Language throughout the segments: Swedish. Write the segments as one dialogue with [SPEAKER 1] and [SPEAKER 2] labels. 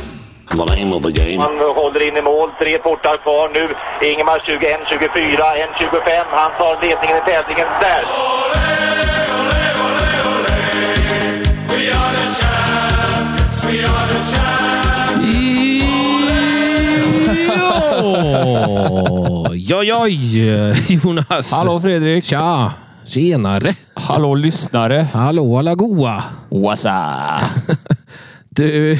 [SPEAKER 1] the name of the game.
[SPEAKER 2] Han håller in i mål, tre portar kvar nu. Ingemar 21, 24, 1, 25. Han tar ledningen i tävlingen där.
[SPEAKER 3] Joj, joj, Jonas.
[SPEAKER 4] Hallå Fredrik!
[SPEAKER 3] Tja! Tjenare!
[SPEAKER 4] Hallå lyssnare!
[SPEAKER 3] Hallå alla goa!
[SPEAKER 4] Wassa!
[SPEAKER 3] Du,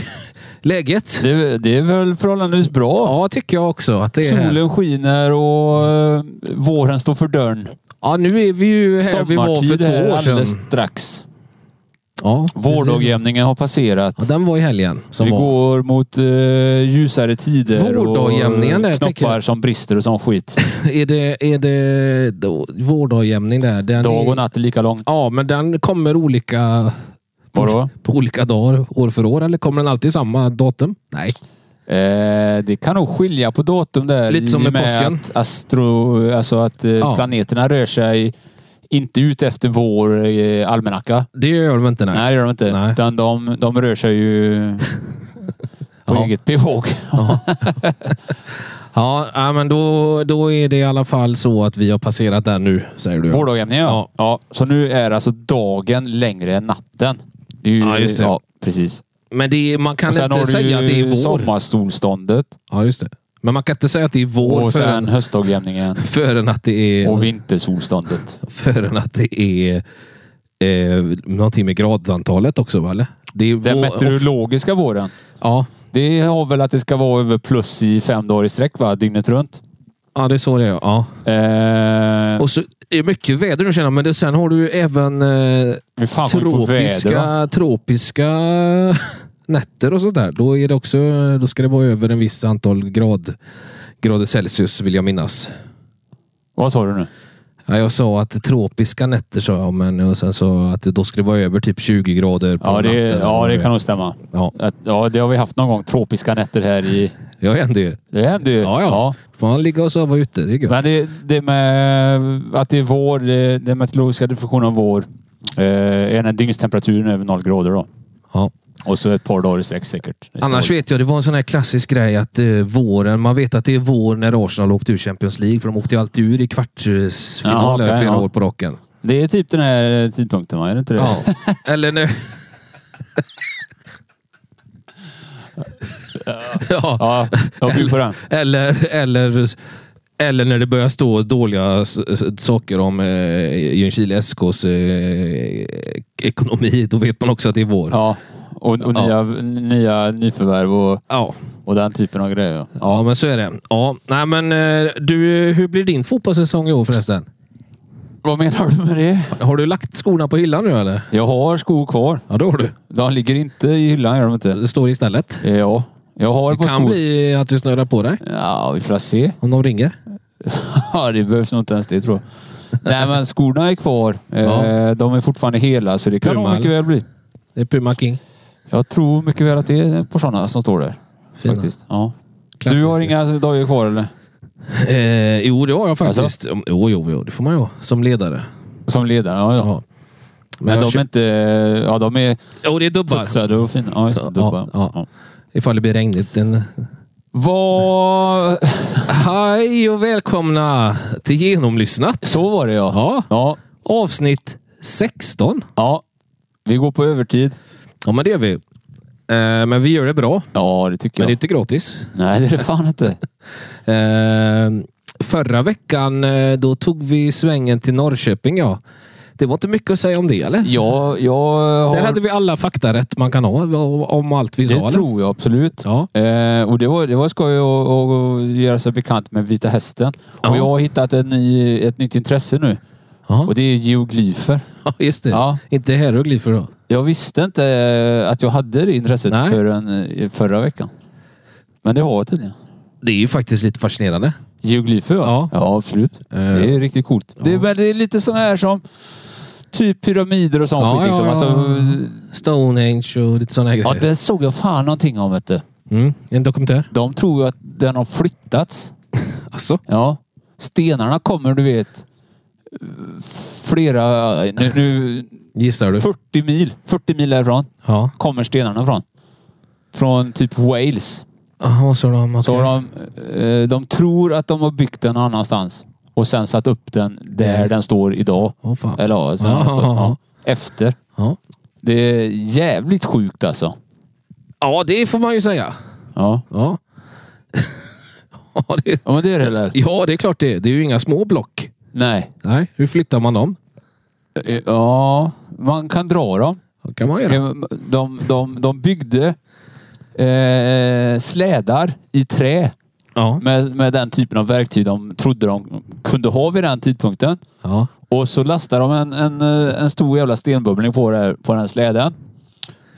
[SPEAKER 3] läget?
[SPEAKER 4] Det, det är väl förhållandevis bra?
[SPEAKER 3] Ja, tycker jag också att det är.
[SPEAKER 4] Solen skiner och eh, våren står för dörren.
[SPEAKER 3] Ja, nu är vi ju här vi var för
[SPEAKER 4] Sommartid
[SPEAKER 3] två
[SPEAKER 4] är
[SPEAKER 3] år
[SPEAKER 4] alldeles
[SPEAKER 3] sedan.
[SPEAKER 4] strax.
[SPEAKER 3] Ja, precis.
[SPEAKER 4] Vårdagjämningen har
[SPEAKER 3] Ja,
[SPEAKER 4] passerat.
[SPEAKER 3] den var i helgen som
[SPEAKER 4] Vi
[SPEAKER 3] var.
[SPEAKER 4] går mot eh, ljusare tider
[SPEAKER 3] Vårdagjämningen där,
[SPEAKER 4] och
[SPEAKER 3] tänker
[SPEAKER 4] knoppar
[SPEAKER 3] jag.
[SPEAKER 4] som brister och sån skit.
[SPEAKER 3] Är det, är det då, vårdagjämning där? Den
[SPEAKER 4] Dag och
[SPEAKER 3] är,
[SPEAKER 4] natt är lika lång.
[SPEAKER 3] Ja, men den kommer olika
[SPEAKER 4] Vadå?
[SPEAKER 3] på olika dagar år för år eller kommer den alltid samma datum? Nej.
[SPEAKER 4] Eh, det kan nog skilja på datum där.
[SPEAKER 3] Lite
[SPEAKER 4] i
[SPEAKER 3] som med
[SPEAKER 4] och
[SPEAKER 3] påsken.
[SPEAKER 4] Att astro, alltså att eh,
[SPEAKER 3] Ja.
[SPEAKER 4] planeterna rör sig inte ut efter vår eh, almanacka.
[SPEAKER 3] Det gör de inte. Nej.
[SPEAKER 4] Nej. det gör de inte.
[SPEAKER 3] Nej.
[SPEAKER 4] Utan de, de rör sig ju på
[SPEAKER 3] Ja.
[SPEAKER 4] eget bevåg.
[SPEAKER 3] Ja, ja, men då, då är det i alla fall så att vi har passerat där nu, säger du.
[SPEAKER 4] Vårdagjämningen
[SPEAKER 3] Ja.
[SPEAKER 4] ja. ja. Så nu är alltså dagen längre än natten. Det är ju,
[SPEAKER 3] Ja, just det.
[SPEAKER 4] precis.
[SPEAKER 3] Men det är, man kan
[SPEAKER 4] Och sen
[SPEAKER 3] inte
[SPEAKER 4] har du
[SPEAKER 3] säga att det är
[SPEAKER 4] ju
[SPEAKER 3] vår.
[SPEAKER 4] sommarsolståndet
[SPEAKER 3] Ja, just det. Men man kan inte säga att det är vår
[SPEAKER 4] och sen
[SPEAKER 3] förrän,
[SPEAKER 4] höstagjämningen
[SPEAKER 3] förrän att det är...
[SPEAKER 4] och vintersolståndet.
[SPEAKER 3] Förrän att det är eh, någonting med gradantalet också, va? eller? Det är
[SPEAKER 4] Den
[SPEAKER 3] vår-
[SPEAKER 4] meteorologiska våren.
[SPEAKER 3] Ja.
[SPEAKER 4] Det har väl att det ska vara över plus i fem dagar i sträck, va? Dygnet runt.
[SPEAKER 3] ja, det är så det är. Ja.
[SPEAKER 4] Eh,
[SPEAKER 3] Och så är det mycket väder nu känner jag, men det, sen har du ju även eh,
[SPEAKER 4] vi fan går på väder, va?
[SPEAKER 3] tropiska, tropiska nätter och sånt där. Då, är det också, då ska det vara över en viss antal grad, grader Celsius vill jag minnas.
[SPEAKER 4] Vad sa du nu?
[SPEAKER 3] Ja, jag sa att tropiska nätter sa jag, men och sen så att då ska det vara över typ 20 grader på
[SPEAKER 4] Ja det,
[SPEAKER 3] natten.
[SPEAKER 4] ja, det kan nog stämma.
[SPEAKER 3] Ja,
[SPEAKER 4] Att, ja, det har vi haft någon gång. Tropiska nätter här i...
[SPEAKER 3] jag hände ju.
[SPEAKER 4] Det hände ju.
[SPEAKER 3] Ja, ja. Får man ligga och sova ute? Det är gött.
[SPEAKER 4] Men det, det med att det är vår, det- den meteorologiska definitionen av vår eh, är när dygnstemperaturen är över noll grader då.
[SPEAKER 3] Ja.
[SPEAKER 4] Och så ett par dagar i sträck säkert. Det ska
[SPEAKER 3] Annars
[SPEAKER 4] vara-
[SPEAKER 3] vet jag, det var en sån här klassisk grej att eh, våren, man vet att det är vår när Arsenal åkte ur Champions League, för de åkte ju alltid ur i
[SPEAKER 4] Jaha,
[SPEAKER 3] kvartsfinal
[SPEAKER 4] okej,
[SPEAKER 3] här flera
[SPEAKER 4] ja.
[SPEAKER 3] år på raken.
[SPEAKER 4] Det är typ den här tidpunkten va? Är det inte det?
[SPEAKER 3] Ja. Eller när... ja.
[SPEAKER 4] ja jag bjuder på den.
[SPEAKER 3] Eller, eller, eller när det börjar stå dåliga s- s- saker om eh, Ljungskile SKs eh, ekonomi. Då vet man också att det är vår. Ja.
[SPEAKER 4] Ja. Och, och
[SPEAKER 3] Ja.
[SPEAKER 4] Nya, nya nyförvärv och,
[SPEAKER 3] Ja.
[SPEAKER 4] och den typen av grejer. ja.
[SPEAKER 3] men så är det. Ja. Nej, men, eh, du, hur blir din fotbollssäsong i år förresten?
[SPEAKER 4] Vad menar du med det?
[SPEAKER 3] Har du lagt skorna på hyllan nu eller?
[SPEAKER 4] Jag har skor kvar.
[SPEAKER 3] Ja, det har du.
[SPEAKER 4] De ligger inte i hyllan, gör de inte.
[SPEAKER 3] Det står istället.
[SPEAKER 4] Eh, Ja, jag har
[SPEAKER 3] Det
[SPEAKER 4] ett par
[SPEAKER 3] kan
[SPEAKER 4] skor.
[SPEAKER 3] bli att du snurrar på dig
[SPEAKER 4] Ja, vi får se.
[SPEAKER 3] om de ringer.
[SPEAKER 4] Ja, det behövs nog inte ens det tror jag. Nej, men skorna är kvar. Eh,
[SPEAKER 3] Ja.
[SPEAKER 4] De är fortfarande hela, så det kan
[SPEAKER 3] Puma,
[SPEAKER 4] nog mycket
[SPEAKER 3] eller?
[SPEAKER 4] väl bli.
[SPEAKER 3] Det är Puma King.
[SPEAKER 4] Jag tror mycket väl att det är på sådana som står där.
[SPEAKER 3] Fina.
[SPEAKER 4] Faktiskt. Ja.
[SPEAKER 3] Klassiskt.
[SPEAKER 4] Du har inga dagar kvar eller?
[SPEAKER 3] Eh, jo, det har jag faktiskt. Jo, jo, jo, det får man ju ha som ledare.
[SPEAKER 4] Som ledare? Ja, ja.
[SPEAKER 3] Ja.
[SPEAKER 4] Men,
[SPEAKER 3] jag
[SPEAKER 4] de
[SPEAKER 3] kö-
[SPEAKER 4] är inte... Ja, de är
[SPEAKER 3] Jo, det är dubbar.
[SPEAKER 4] putsade och fina. Ja, just det.
[SPEAKER 3] Ja,
[SPEAKER 4] Dubbar.
[SPEAKER 3] ja.
[SPEAKER 4] Ja.
[SPEAKER 3] Ifall det blir regnigt. En...
[SPEAKER 4] Vad...
[SPEAKER 3] Hej och välkomna till Genomlyssnat.
[SPEAKER 4] Så var det ja.
[SPEAKER 3] Ja,
[SPEAKER 4] Ja.
[SPEAKER 3] avsnitt 16.
[SPEAKER 4] ja. Vi går på övertid.
[SPEAKER 3] Ja, men det gör vi. Eh, men vi gör det bra.
[SPEAKER 4] Ja, det tycker
[SPEAKER 3] Men
[SPEAKER 4] jag.
[SPEAKER 3] det är inte gratis.
[SPEAKER 4] Nej, det är det fan inte.
[SPEAKER 3] Eh, förra veckan, eh, då tog vi svängen till Norrköping. Ja. Det var inte mycket att säga om det, eller?
[SPEAKER 4] Jag, jag har...
[SPEAKER 3] Där hade vi alla faktarätt man kan ha om allt vi sa.
[SPEAKER 4] det
[SPEAKER 3] eller?
[SPEAKER 4] tror jag absolut.
[SPEAKER 3] Ja.
[SPEAKER 4] Eh, och det var, det var skoj att, att göra sig bekant med Vita Hästen.
[SPEAKER 3] Ja.
[SPEAKER 4] Och jag har hittat en ny, ett nytt intresse nu.
[SPEAKER 3] Ja.
[SPEAKER 4] Och det är geoglyfer.
[SPEAKER 3] Ja, just det.
[SPEAKER 4] Ja.
[SPEAKER 3] Inte hieroglyfer då.
[SPEAKER 4] Jag visste inte eh, att jag hade det intresset
[SPEAKER 3] Nej.
[SPEAKER 4] förrän eh, förra veckan. Men det har jag tydligen.
[SPEAKER 3] Det är ju faktiskt lite fascinerande.
[SPEAKER 4] Geoglyfer
[SPEAKER 3] Ja.
[SPEAKER 4] ja. Ja, absolut.
[SPEAKER 3] Eh.
[SPEAKER 4] Det är riktigt coolt. Det,
[SPEAKER 3] Ja.
[SPEAKER 4] men det är lite sådana här som typ pyramider och sånt
[SPEAKER 3] Ja,
[SPEAKER 4] skit. Liksom.
[SPEAKER 3] ja, ja.
[SPEAKER 4] Alltså,
[SPEAKER 3] Stonehenge och lite sådana
[SPEAKER 4] ja,
[SPEAKER 3] grejer.
[SPEAKER 4] det såg jag fan någonting om. Vet du.
[SPEAKER 3] Mm, en dokumentär.
[SPEAKER 4] De tror ju att den har flyttats.
[SPEAKER 3] Alltså.
[SPEAKER 4] Ja. Stenarna kommer, du vet, flera... Nu, nu,
[SPEAKER 3] Gissar du?
[SPEAKER 4] 40 mil. 40 mil härifrån
[SPEAKER 3] Ja.
[SPEAKER 4] kommer stenarna från. Från typ Wales.
[SPEAKER 3] Jaha, så de...
[SPEAKER 4] Så
[SPEAKER 3] okej.
[SPEAKER 4] de, eh, de tror att de har byggt den någon annanstans och sen satt upp den där
[SPEAKER 3] Där.
[SPEAKER 4] den står idag.
[SPEAKER 3] Åh, fan.
[SPEAKER 4] Eller ja, sen,
[SPEAKER 3] Ja,
[SPEAKER 4] alltså,
[SPEAKER 3] ja,
[SPEAKER 4] ja, efter.
[SPEAKER 3] Ja.
[SPEAKER 4] Det är jävligt sjukt alltså.
[SPEAKER 3] ja, det får man ju säga.
[SPEAKER 4] Ja,
[SPEAKER 3] Ja. ja, det,
[SPEAKER 4] ja men det är det eller?
[SPEAKER 3] ja, det är klart det. Det är ju inga små block.
[SPEAKER 4] Nej.
[SPEAKER 3] Nej, hur flyttar man dem?
[SPEAKER 4] Eh, Ja, man kan dra dem.
[SPEAKER 3] Det kan man göra.
[SPEAKER 4] Eh, De, de, de byggde eh, slädar i trä
[SPEAKER 3] Ja.
[SPEAKER 4] med, med den typen av verktyg de trodde de kunde ha vid den tidpunkten.
[SPEAKER 3] ja.
[SPEAKER 4] Och så lastar de en, en, eh, en stor jävla stenbubbling på, det, här- på den här släden.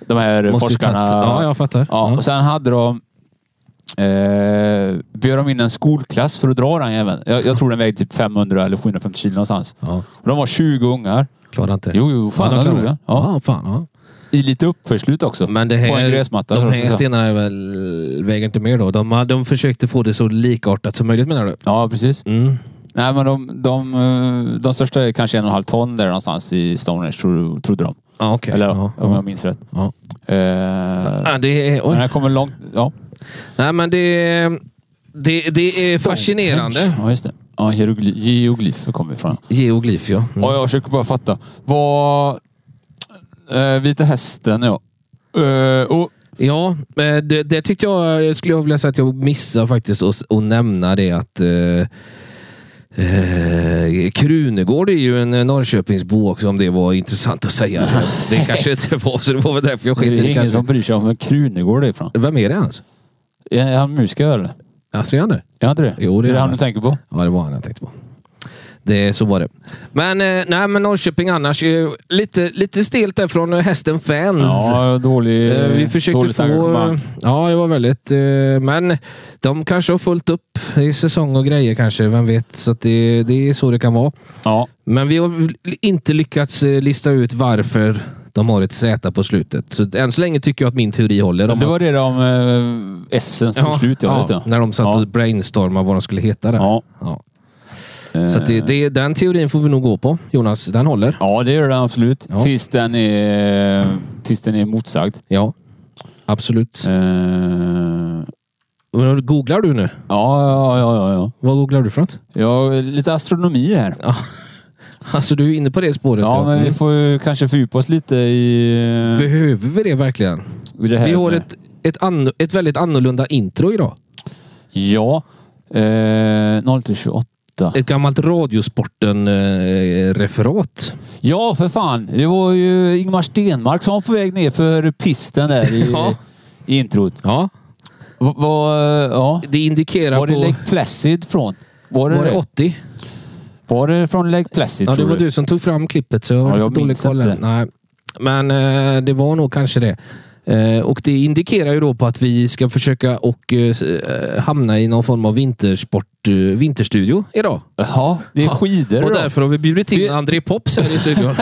[SPEAKER 4] De här
[SPEAKER 3] Måste ju
[SPEAKER 4] forskarna.
[SPEAKER 3] tvätta- Ja, jag fattar.
[SPEAKER 4] Ja, och sen hade de... Eh, bjöd de in en skolklass för att dra den jäveln. Jag, jag tror den vägde typ 500 eller 750 kilo någonstans.
[SPEAKER 3] ja.
[SPEAKER 4] Och de var 20 ungar.
[SPEAKER 3] Klarar inte det.
[SPEAKER 4] Jo, jo, fan,
[SPEAKER 3] de
[SPEAKER 4] han
[SPEAKER 3] klarar
[SPEAKER 4] drog
[SPEAKER 3] det.
[SPEAKER 4] den. Ja.
[SPEAKER 3] ja, fan. Ja.
[SPEAKER 4] I lite uppförslut också.
[SPEAKER 3] Men det
[SPEAKER 4] på en
[SPEAKER 3] här,
[SPEAKER 4] gräsmatta.
[SPEAKER 3] de
[SPEAKER 4] eller vad
[SPEAKER 3] här
[SPEAKER 4] jag ska säga.
[SPEAKER 3] stenarna är väl, väger inte mer då? De, har- de försökte få det så likartat som möjligt menar du?
[SPEAKER 4] Ja, precis.
[SPEAKER 3] Mm.
[SPEAKER 4] Nej, men de, de, eh, de största är kanske en och en halv ton där någonstans i Stonehenge, tro- trodde de.
[SPEAKER 3] Ja, okej.
[SPEAKER 4] Eller
[SPEAKER 3] ja,
[SPEAKER 4] om
[SPEAKER 3] ja.
[SPEAKER 4] jag minns rätt.
[SPEAKER 3] Ja.
[SPEAKER 4] Eh,
[SPEAKER 3] Ja, det är,
[SPEAKER 4] men
[SPEAKER 3] Ah, oj.
[SPEAKER 4] här kommer långt... Ja.
[SPEAKER 3] Nej, men det, är- det, det är fascinerande.
[SPEAKER 4] Ja, just det. Ja, hierogly- geoglyfer kommer ifrån.
[SPEAKER 3] Geoglyf, ja. Mm.
[SPEAKER 4] Ja, jag försöker bara fatta. Vad... Eh, Vita hästen, ja. Eh, och,
[SPEAKER 3] Ja, eh, det, det tyckte jag, eh, skulle jag vilja säga att jag missade faktiskt att att nämna det att eh, eh, Krunegård är ju en Norrköpingsbo också, om det var intressant att säga. Det kanske inte var, så det var väl därför jag
[SPEAKER 4] det
[SPEAKER 3] skit i
[SPEAKER 4] är
[SPEAKER 3] det.
[SPEAKER 4] ingen
[SPEAKER 3] Kanske.
[SPEAKER 4] som bryr sig om var Krunegård är ifrån.
[SPEAKER 3] Vem är det ens?
[SPEAKER 4] Är han musiker eller?
[SPEAKER 3] Alltså, är han det?
[SPEAKER 4] Är han inte det?
[SPEAKER 3] Jo, det är
[SPEAKER 4] är det han
[SPEAKER 3] han.
[SPEAKER 4] du tänker på.
[SPEAKER 3] Ja, det var han jag tänkte på. Det, så var det. Men, eh, nej, men Norrköping annars, eh, lite, lite stelt där från eh, hästen fans.
[SPEAKER 4] Ja, dålig,
[SPEAKER 3] Eh, Vi försökte
[SPEAKER 4] dåligt
[SPEAKER 3] få...
[SPEAKER 4] engagemang.
[SPEAKER 3] Ja, det var väldigt... eh, Men de kanske har fullt upp i säsong och grejer kanske. Vem vet? Så att det, det är så det kan vara.
[SPEAKER 4] Ja,
[SPEAKER 3] Men vi har inte lyckats eh, lista ut varför de har ett Z på slutet. Så än så länge tycker jag att min teori håller. om
[SPEAKER 4] det var
[SPEAKER 3] att-
[SPEAKER 4] det där om eh, Essens tog slut. Ja, just det.
[SPEAKER 3] När de satt
[SPEAKER 4] Ja.
[SPEAKER 3] och brainstormade vad de skulle heta där.
[SPEAKER 4] Ja. eh,
[SPEAKER 3] Ja. Så att det, det, den teorin får vi nog gå på, Jonas. Den håller.
[SPEAKER 4] Ja, det gör den absolut.
[SPEAKER 3] Ja.
[SPEAKER 4] Tills, den är, tills den är motsagd.
[SPEAKER 3] Ja, absolut.
[SPEAKER 4] Eh,
[SPEAKER 3] Men Googlar du nu?
[SPEAKER 4] ja, ja, ja, ja, ja.
[SPEAKER 3] Vad googlar du för något?
[SPEAKER 4] Ja, lite astronomi här.
[SPEAKER 3] Ja. Alltså, du är inne på det spåret.
[SPEAKER 4] Ja, men vi
[SPEAKER 3] Mm.
[SPEAKER 4] får ju kanske fördjupa oss lite i, eh,
[SPEAKER 3] Behöver vi det verkligen?
[SPEAKER 4] i det här.
[SPEAKER 3] Vi har
[SPEAKER 4] med-
[SPEAKER 3] ett, ett, anno- ett väldigt annorlunda intro idag.
[SPEAKER 4] Ja. Eh, 0328.
[SPEAKER 3] Ett gammalt Radiosporten-referat.
[SPEAKER 4] Ja, för fan. Det var ju Ingmar Stenmark som var på väg ner för pisten där i,
[SPEAKER 3] Ja.
[SPEAKER 4] i introt.
[SPEAKER 3] ja,
[SPEAKER 4] Va, va, ja.
[SPEAKER 3] det indikerar
[SPEAKER 4] Var det
[SPEAKER 3] på...
[SPEAKER 4] Lake Placid från? Var det,
[SPEAKER 3] var det
[SPEAKER 4] det?
[SPEAKER 3] 80?
[SPEAKER 4] Var det från Lake Placid?
[SPEAKER 3] Ja, det
[SPEAKER 4] tror
[SPEAKER 3] var du som tog fram klippet, så jag har
[SPEAKER 4] Ja, jag
[SPEAKER 3] lite dålig
[SPEAKER 4] minns
[SPEAKER 3] koll.
[SPEAKER 4] inte.
[SPEAKER 3] Nej. Men eh, det var nog kanske det. Eh, och det indikerar ju då på att vi ska försöka och eh, s- eh, hamna i någon form av vintersport, eh, vinterstudio idag.
[SPEAKER 4] Ja, det är skidor
[SPEAKER 3] Och
[SPEAKER 4] då.
[SPEAKER 3] därför har vi bjudit in
[SPEAKER 4] Det-
[SPEAKER 3] André Pops här i studion.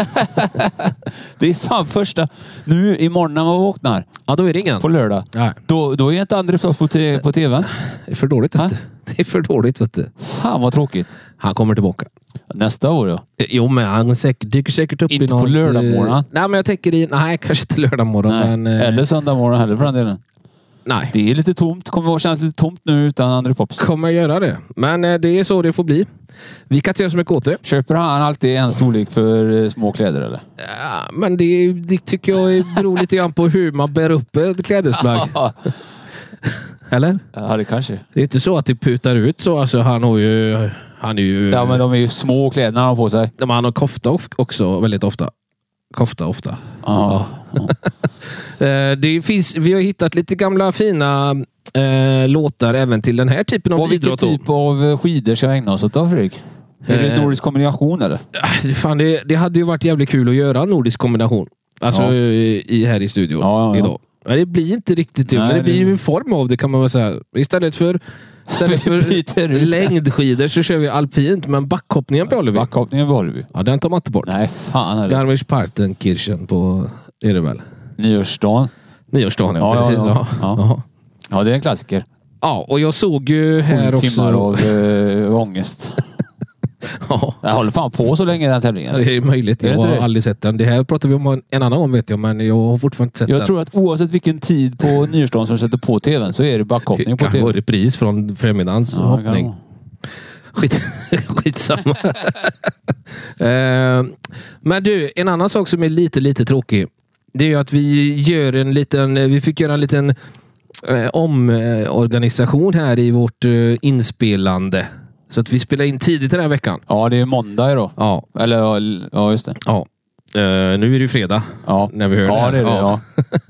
[SPEAKER 4] Det är fan första... Nu imorgon när man vaknar
[SPEAKER 3] ja, då är det ingen.
[SPEAKER 4] på lördag.
[SPEAKER 3] Nej,
[SPEAKER 4] Då, då är inte André Floss på, te- på tvn.
[SPEAKER 3] det är för dåligt. Vet
[SPEAKER 4] Va?
[SPEAKER 3] du. Det är för dåligt. Vet du.
[SPEAKER 4] Fan vad tråkigt.
[SPEAKER 3] Han kommer tillbaka.
[SPEAKER 4] Nästa år då.
[SPEAKER 3] Eh, Jo, men han säkert, dyker säkert upp
[SPEAKER 4] Inte
[SPEAKER 3] i
[SPEAKER 4] på
[SPEAKER 3] något...
[SPEAKER 4] lördagmorgon.
[SPEAKER 3] eh, Nej, men jag tänker i... Nej, kanske inte lördagmorgon.
[SPEAKER 4] Nej.
[SPEAKER 3] Men, eh,
[SPEAKER 4] Eller söndag morgon heller för den delen.
[SPEAKER 3] nej.
[SPEAKER 4] Det är lite tomt. Kommer att kännas lite tomt nu utan André Pops.
[SPEAKER 3] kommer göra det. Men eh, det är så det får bli. Vi kan inte göra så mycket åt det.
[SPEAKER 4] Köper han alltid en storlek för eh, små kläder eller?
[SPEAKER 3] Ja, men det, det tycker jag beror lite grann på hur man bär upp ett klädesplagg. Eller?
[SPEAKER 4] Ja, det kanske.
[SPEAKER 3] Det är inte så att det putar ut så. Alltså, han har ju... Han är ju...
[SPEAKER 4] Ja, men de är ju små kläderna han har på sig.
[SPEAKER 3] men Han har kofta of- också väldigt ofta. Kofta ofta.
[SPEAKER 4] Ja.
[SPEAKER 3] Eh, Det finns, vi har hittat lite gamla fina eh, låtar även till den här typen av
[SPEAKER 4] Vad, vilken
[SPEAKER 3] idrott. då.
[SPEAKER 4] typ av eh, skidor ska vi ägna oss åt då, Fredrik? Är det
[SPEAKER 3] Eh.
[SPEAKER 4] nordisk kombination eller?
[SPEAKER 3] Ah, Fan, det, det hade ju varit jävligt kul att göra en nordisk kombination. Alltså
[SPEAKER 4] Ja.
[SPEAKER 3] eh, i, här i studion
[SPEAKER 4] Ja, ja, ja.
[SPEAKER 3] idag. Men det blir inte riktigt det,
[SPEAKER 4] Nej,
[SPEAKER 3] men det
[SPEAKER 4] det-
[SPEAKER 3] blir ju en form av det kan man väl säga. Istället för, istället
[SPEAKER 4] Vi byter
[SPEAKER 3] för
[SPEAKER 4] ut.
[SPEAKER 3] längdskidor så kör vi alpint, men backhoppningen behåller vi.
[SPEAKER 4] Backhoppningen behåller vi.
[SPEAKER 3] Ja, den tar man inte bort.
[SPEAKER 4] Nej, fan heller.
[SPEAKER 3] Garmisch-Partenkirchen på... Är det väl?
[SPEAKER 4] Nyårsdagen.
[SPEAKER 3] Nyårsdagen, ja.
[SPEAKER 4] Ja, ja,
[SPEAKER 3] precis.
[SPEAKER 4] ja.
[SPEAKER 3] Ja.
[SPEAKER 4] Ja. Ja, det är en klassiker.
[SPEAKER 3] Ja, och jag såg ju här
[SPEAKER 4] Sju
[SPEAKER 3] också...
[SPEAKER 4] timmar av äh, ångest.
[SPEAKER 3] Ja.
[SPEAKER 4] Den håller fan på så länge den här
[SPEAKER 3] Ja,
[SPEAKER 4] tävlingen.
[SPEAKER 3] det är möjligt.
[SPEAKER 4] Är det
[SPEAKER 3] Jag
[SPEAKER 4] inte
[SPEAKER 3] har
[SPEAKER 4] det?
[SPEAKER 3] aldrig sett den. Det här pratar vi om en- en annan gång vet jag, men jag har fortfarande inte sett
[SPEAKER 4] Jag
[SPEAKER 3] den.
[SPEAKER 4] tror att oavsett vilken tid på nyårsdagen som sätter på tvn så är det backhoppning
[SPEAKER 3] det
[SPEAKER 4] på
[SPEAKER 3] kan vara
[SPEAKER 4] tvn.
[SPEAKER 3] repris från förmiddagens
[SPEAKER 4] Ja, det kan
[SPEAKER 3] hoppning.
[SPEAKER 4] vara.
[SPEAKER 3] Skit, skitsamma. Eh, men du, en annan sak som är lite, lite tråkig. Det är ju att vi gör en liten... Vi fick göra en liten eh, omorganisation här i vårt eh, inspelande. Så att vi spelar in tidigt den här veckan.
[SPEAKER 4] Ja, det är måndag idag.
[SPEAKER 3] Ja,
[SPEAKER 4] Eller ja, ja, just det.
[SPEAKER 3] ja. Eh, nu är det ju fredag
[SPEAKER 4] Ja,
[SPEAKER 3] när vi hör
[SPEAKER 4] ja
[SPEAKER 3] här.
[SPEAKER 4] det är det. Ja.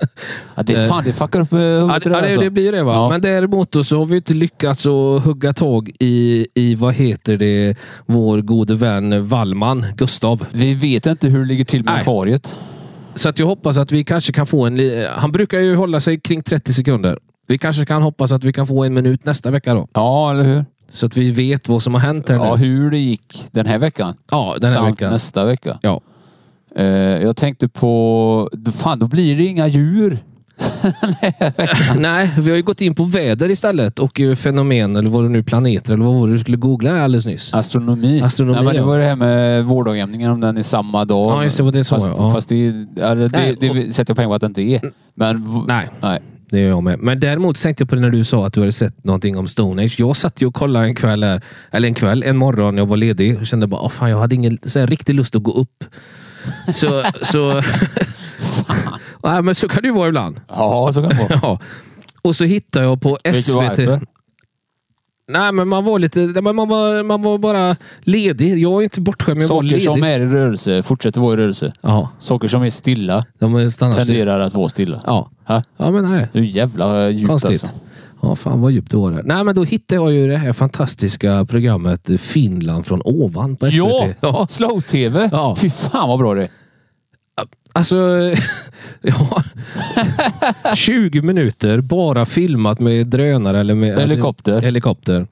[SPEAKER 4] Ja, det, fan, det fuckar upp eh,
[SPEAKER 3] Ja,
[SPEAKER 4] huvudet
[SPEAKER 3] det, ja, det,
[SPEAKER 4] alltså.
[SPEAKER 3] det blir det va.
[SPEAKER 4] Ja.
[SPEAKER 3] Men däremot då så har vi inte lyckats att hugga tag i, i vad heter det, vår gode vän Wallman, Gustav.
[SPEAKER 4] Vi vet inte hur det ligger till med
[SPEAKER 3] Nej.
[SPEAKER 4] akvariet.
[SPEAKER 3] Så att jag hoppas att vi kanske kan få en... li- Han brukar ju hålla sig kring 30 sekunder. Vi kanske kan hoppas att vi kan få en minut nästa vecka då.
[SPEAKER 4] Ja, eller hur?
[SPEAKER 3] Så att vi vet vad som har hänt här
[SPEAKER 4] Ja,
[SPEAKER 3] nu.
[SPEAKER 4] hur det gick den här veckan.
[SPEAKER 3] Ja, den här
[SPEAKER 4] samt
[SPEAKER 3] veckan.
[SPEAKER 4] nästa vecka.
[SPEAKER 3] Ja.
[SPEAKER 4] Eh, jag tänkte på... Fan, då blir det inga djur.
[SPEAKER 3] Nej, vi har ju gått in på väder istället och eh, fenomen eller vad det nu planeter eller vad var det du skulle googla alldeles nyss.
[SPEAKER 4] Astronomi.
[SPEAKER 3] Astronomi,
[SPEAKER 4] Nej, men det
[SPEAKER 3] ja.
[SPEAKER 4] var det här med vårdagjämningen, om den är samma dag.
[SPEAKER 3] Ja, just det, vad det sa
[SPEAKER 4] fast,
[SPEAKER 3] jag, ja.
[SPEAKER 4] fast det, ja, det, det,
[SPEAKER 3] Nej,
[SPEAKER 4] det sätter jag pengar på att det inte är. Men... v-
[SPEAKER 3] Nej,
[SPEAKER 4] Nej.
[SPEAKER 3] Det gör jag med. Men däremot tänkte jag på det när du sa att du hade sett någonting om Stone Age. Jag satt ju och kollade en kväll här, eller en kväll, en morgon när jag var ledig och kände bara, "Åh, fan, jag hade ingen så här, riktig lust att gå upp. Så, så, Nej, men så kan det ju vara ibland.
[SPEAKER 4] Ja, så kan det vara.
[SPEAKER 3] Ja. Och så hittade jag på
[SPEAKER 4] du
[SPEAKER 3] SVT.
[SPEAKER 4] varför?
[SPEAKER 3] Nej, men man var lite, nej, men man var, man var bara ledig. Jag är inte bortskämd, men jag var
[SPEAKER 4] Saker
[SPEAKER 3] ledig.
[SPEAKER 4] som är i rörelse fortsätter vara i rörelse.
[SPEAKER 3] Ja,
[SPEAKER 4] Saker som är stilla
[SPEAKER 3] de stannar still.
[SPEAKER 4] tenderar att vara stilla.
[SPEAKER 3] Ja.
[SPEAKER 4] Ha?
[SPEAKER 3] ja, men nej.
[SPEAKER 4] Hur jävla djupt
[SPEAKER 3] Konstigt.
[SPEAKER 4] alltså.
[SPEAKER 3] Ja, fan vad djupt det var där. Nej, men då hittade jag ju det här fantastiska programmet Finland från ovan på SVT.
[SPEAKER 4] Ja!
[SPEAKER 3] ja.
[SPEAKER 4] Slow-tv!
[SPEAKER 3] Ja.
[SPEAKER 4] Fy fan vad bra det är.
[SPEAKER 3] Alltså, ja. 20 minuter bara filmat med drönare eller med
[SPEAKER 4] Helikopter.
[SPEAKER 3] helikopter.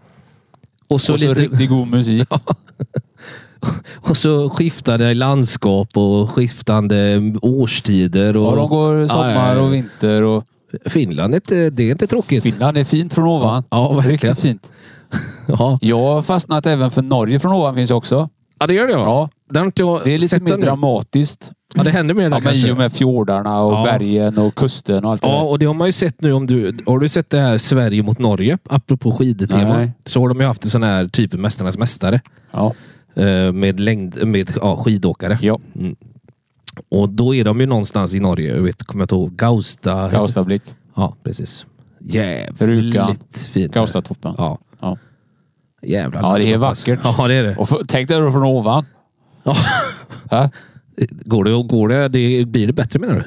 [SPEAKER 3] Och så,
[SPEAKER 4] och så
[SPEAKER 3] lite,
[SPEAKER 4] riktigt god musik.
[SPEAKER 3] och så skiftande landskap och skiftande årstider. Och,
[SPEAKER 4] Och de går sommar
[SPEAKER 3] Ja, ja,
[SPEAKER 4] och vinter och
[SPEAKER 3] ja. Finland är inte, det är inte tråkigt.
[SPEAKER 4] Finland är fint från ovan.
[SPEAKER 3] Ja, verkligen.
[SPEAKER 4] Riktigt fint.
[SPEAKER 3] Ja.
[SPEAKER 4] Jag har fastnat även för Norge från ovan finns också.
[SPEAKER 3] ja, det gör det. va?
[SPEAKER 4] Ja,
[SPEAKER 3] Den har inte jag
[SPEAKER 4] det är lite
[SPEAKER 3] sett
[SPEAKER 4] mer
[SPEAKER 3] ännu.
[SPEAKER 4] dramatiskt.
[SPEAKER 3] Ja, det händer mer där
[SPEAKER 4] Ja, men
[SPEAKER 3] kanske.
[SPEAKER 4] I och med fjordarna och
[SPEAKER 3] Ja.
[SPEAKER 4] bergen och kusten och allt det
[SPEAKER 3] Ja,
[SPEAKER 4] där.
[SPEAKER 3] och det har man ju sett nu. Om du, har du sett det här Sverige mot Norge? Apropå skidtema.
[SPEAKER 4] Nej.
[SPEAKER 3] Så har de ju haft en sån här typ Mästarnas mästare.
[SPEAKER 4] Ja.
[SPEAKER 3] eh, Med, längd, med ja, skidåkare.
[SPEAKER 4] ja.
[SPEAKER 3] Och då är de ju någonstans i Norge. Jag vet, kommer jag inte ihåg. Gausta.
[SPEAKER 4] Gaustablick.
[SPEAKER 3] Ja, precis.
[SPEAKER 4] Ruka.
[SPEAKER 3] Jävligt fint.
[SPEAKER 4] Gaustatoppen.
[SPEAKER 3] Ja.
[SPEAKER 4] Ja.
[SPEAKER 3] Jävlar.
[SPEAKER 4] Ja, det är
[SPEAKER 3] landskap, alltså.
[SPEAKER 4] vackert.
[SPEAKER 3] Ja, det är det.
[SPEAKER 4] Och för, tänk dig då från ovan.
[SPEAKER 3] Ja.
[SPEAKER 4] Ja.
[SPEAKER 3] Går det, går det, det, blir det bättre menar du?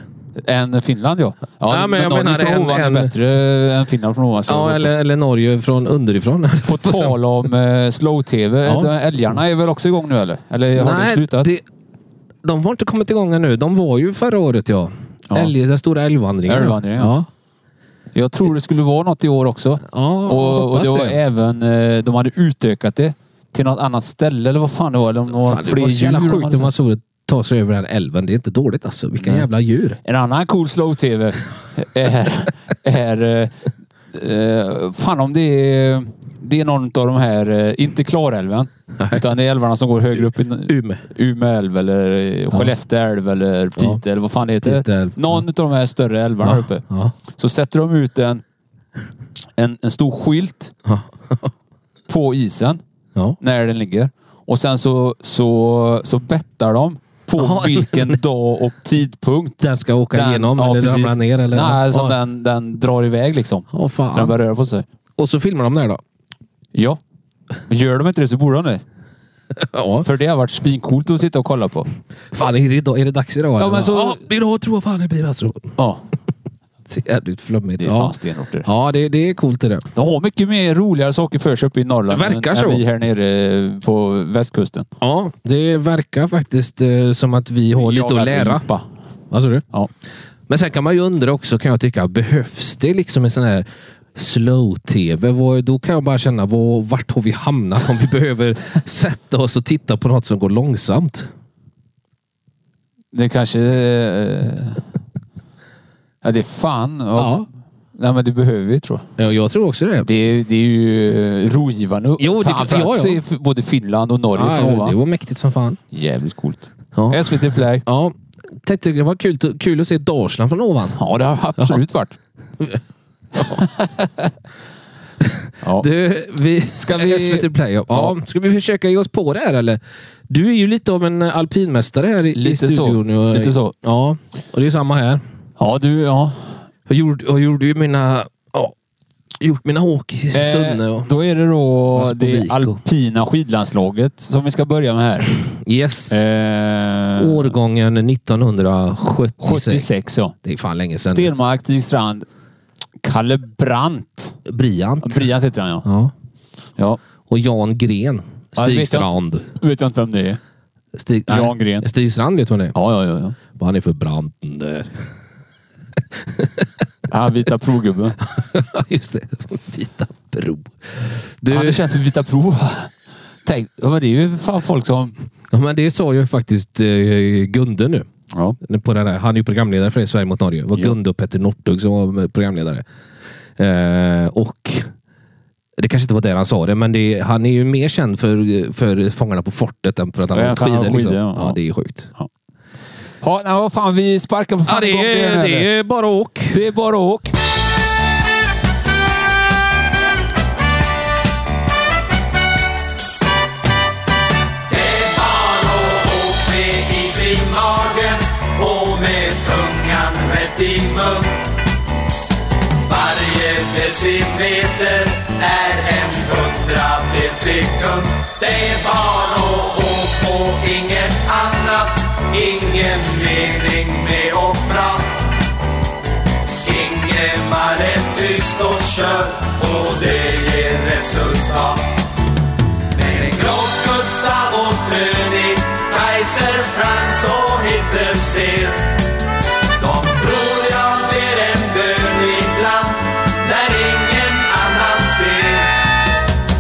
[SPEAKER 4] Än Finland ja. Ja,
[SPEAKER 3] men jag
[SPEAKER 4] Norge
[SPEAKER 3] menar
[SPEAKER 4] från
[SPEAKER 3] en-
[SPEAKER 4] ovan
[SPEAKER 3] en-
[SPEAKER 4] är bättre än Finland från ovan. så-
[SPEAKER 3] Ja, eller, eller Norge från underifrån.
[SPEAKER 4] På tal om eh, slow-tv.
[SPEAKER 3] Ja.
[SPEAKER 4] de- Älgarna är väl också igång nu eller? Eller har det slutat?
[SPEAKER 3] det- de har inte kommit igång ännu. De var ju förra året ja.
[SPEAKER 4] Ja.
[SPEAKER 3] Älg, den stora älgvandringen.
[SPEAKER 4] Älgvandringen,
[SPEAKER 3] ja.
[SPEAKER 4] ja. Jag tror det skulle vara något i år också.
[SPEAKER 3] Ja, jag
[SPEAKER 4] Och, och
[SPEAKER 3] hoppas
[SPEAKER 4] det var
[SPEAKER 3] det.
[SPEAKER 4] även, eh, de hade utökat det till något annat ställe eller vad fan det var. Eller om det var
[SPEAKER 3] Fan, det
[SPEAKER 4] fler
[SPEAKER 3] var så jävla
[SPEAKER 4] djur alltså. de
[SPEAKER 3] sjukt
[SPEAKER 4] hade
[SPEAKER 3] hur man
[SPEAKER 4] sett.
[SPEAKER 3] såg ta sig över den här älven. Det är inte dåligt alltså. Vilka
[SPEAKER 4] Nej.
[SPEAKER 3] jävla djur.
[SPEAKER 4] En annan cool slow-tv är... är eh, eh, fan om det är... Det är någon av de här, eh, inte Klarälven, utan det är älvarna som går högre upp i
[SPEAKER 3] Ume.
[SPEAKER 4] Umeå älv eller eh, Skellefteå älv eller Piteå eller vad fan det heter.
[SPEAKER 3] Piteå älv.
[SPEAKER 4] Någon av de här större älvarna här uppe.
[SPEAKER 3] Ja.
[SPEAKER 4] Så sätter de ut en, en, en stor skylt
[SPEAKER 3] Ja.
[SPEAKER 4] på isen
[SPEAKER 3] Ja.
[SPEAKER 4] när den ligger. Och sen så, så, så bettar de på
[SPEAKER 3] Jaha.
[SPEAKER 4] vilken dag och tidpunkt
[SPEAKER 3] Den ska åka igenom eller
[SPEAKER 4] precis.
[SPEAKER 3] ramla ner. Eller,
[SPEAKER 4] Nej, så
[SPEAKER 3] ja.
[SPEAKER 4] den, den drar iväg liksom.
[SPEAKER 3] Åh,
[SPEAKER 4] Så den
[SPEAKER 3] fan.
[SPEAKER 4] börjar röra på sig.
[SPEAKER 3] Och så filmar de där då.
[SPEAKER 4] Ja. Men Gör de inte det så borde de det.
[SPEAKER 3] Ja.
[SPEAKER 4] För det har varit svinkult att sitta och kolla på.
[SPEAKER 3] Fan, är det, idag- är det dags idag? eller?
[SPEAKER 4] men så-
[SPEAKER 3] idag tror jag fan det blir alltså.
[SPEAKER 4] Ja,
[SPEAKER 3] Så jävligt flummigt.
[SPEAKER 4] det är
[SPEAKER 3] ja.
[SPEAKER 4] fan stenhårt det.
[SPEAKER 3] ja, det, det är coolt det där.
[SPEAKER 4] De har mycket mer roligare saker för sig uppe i Norrland
[SPEAKER 3] Det verkar
[SPEAKER 4] än,
[SPEAKER 3] så.
[SPEAKER 4] än vi här nere eh, på västkusten.
[SPEAKER 3] Ja, det verkar faktiskt eh, som att vi har lite
[SPEAKER 4] Jagar
[SPEAKER 3] att lära.
[SPEAKER 4] limpa.
[SPEAKER 3] Vad sa du?
[SPEAKER 4] Ja.
[SPEAKER 3] Men sen kan man ju undra också, kan jag tycka, behövs det liksom en sån här slow-tv? Vad- Då kan jag bara känna, vad- vart har vi hamnat om vi behöver sätta oss och titta på något som går långsamt?
[SPEAKER 4] Det kanske... Eh, ja, det är fan. Ja.
[SPEAKER 3] Ja.
[SPEAKER 4] Nej, men det behöver vi tror jag.
[SPEAKER 3] Ja, jag tror också det.
[SPEAKER 4] Det, är- det är ju eh, rogivande.
[SPEAKER 3] Jo, det-
[SPEAKER 4] Framförallt
[SPEAKER 3] ja, ja.
[SPEAKER 4] ser f- både Finland och Norge
[SPEAKER 3] Ja,
[SPEAKER 4] från
[SPEAKER 3] det
[SPEAKER 4] ovan.
[SPEAKER 3] var mäktigt som fan.
[SPEAKER 4] Jävligt coolt.
[SPEAKER 3] Ja.
[SPEAKER 4] SVT Play.
[SPEAKER 3] ja. Tänkte det var kul, kul att se Dalsland från ovan.
[SPEAKER 4] Ja, det har absolut varit. ja.
[SPEAKER 3] Du, vi...
[SPEAKER 4] Ska vi-
[SPEAKER 3] SVT Play. Ja. Ja. Ska vi försöka ge oss på det här eller? Du är ju lite av en eh, alpinmästare här i, i
[SPEAKER 4] Lite så.
[SPEAKER 3] studion. Och,
[SPEAKER 4] Lite så.
[SPEAKER 3] Ja, och det är samma här.
[SPEAKER 4] Ja, du. Ja.
[SPEAKER 3] Jag gjorde, jag gjorde ju mina... Ja, gjort mina åk i Sunne. Och,
[SPEAKER 4] Eh, då är det då
[SPEAKER 3] Vaspo
[SPEAKER 4] det
[SPEAKER 3] Vico. Mm.
[SPEAKER 4] alpina skidlandslaget som vi ska börja med här.
[SPEAKER 3] yes.
[SPEAKER 4] Eh,
[SPEAKER 3] Årgången 1976.
[SPEAKER 4] 76 ja.
[SPEAKER 3] Det är fan länge sedan.
[SPEAKER 4] Stenmark, Stig Strand, Kalle Brandt.
[SPEAKER 3] Briant.
[SPEAKER 4] Briant heter han ja.
[SPEAKER 3] Ja.
[SPEAKER 4] ja.
[SPEAKER 3] Och Jan Gren.
[SPEAKER 4] Ja, det vet jag
[SPEAKER 3] Stig
[SPEAKER 4] inte.
[SPEAKER 3] Strand.
[SPEAKER 4] Vet jag inte vem det är.
[SPEAKER 3] Stig, nej.
[SPEAKER 4] Jan Gren.
[SPEAKER 3] Stig Strand vet man det
[SPEAKER 4] Ja, ja, ja. ja.
[SPEAKER 3] Han är för branten där.
[SPEAKER 4] Han vita provgubben.
[SPEAKER 3] Just det. Vita bro. Du,
[SPEAKER 4] Han är känd för vita prov. Tänk, ja, men det är ju fan folk som...
[SPEAKER 3] ja, men det sa ju faktiskt eh, Gunde nu.
[SPEAKER 4] Ja.
[SPEAKER 3] På den här, han är ju programledare för det, Sverige mot Norge. Det var
[SPEAKER 4] Ja.
[SPEAKER 3] Gunde och Petter Northug som var med- programledare. Eh, och det kanske inte var där han sa det, men det, han är ju mer känd för, för Fångarna på fortet än för att han
[SPEAKER 4] Ja,
[SPEAKER 3] har åkt
[SPEAKER 4] han har
[SPEAKER 3] skidor. Liksom.
[SPEAKER 4] skidor, ja.
[SPEAKER 3] Ja. det är sjukt.
[SPEAKER 4] Ja, nej, vad fan, vi sparkar på fan
[SPEAKER 3] Ja, det,
[SPEAKER 4] igång
[SPEAKER 3] är,
[SPEAKER 4] här.
[SPEAKER 3] det är bara åk.
[SPEAKER 4] det är bara åk.
[SPEAKER 1] med is i magen och med tungan rätt i mun. Varje decimeter är en hundradels sekund. Det är bara att åk och inget annat. Ingen mening med och prat. Ingemar är tyst och kör och det ger resultat. Med Gross, Gustav och Töni, Kaiser, Frans och Hitler ser. De tror jag ber en bön ibland, när ingen annan ser.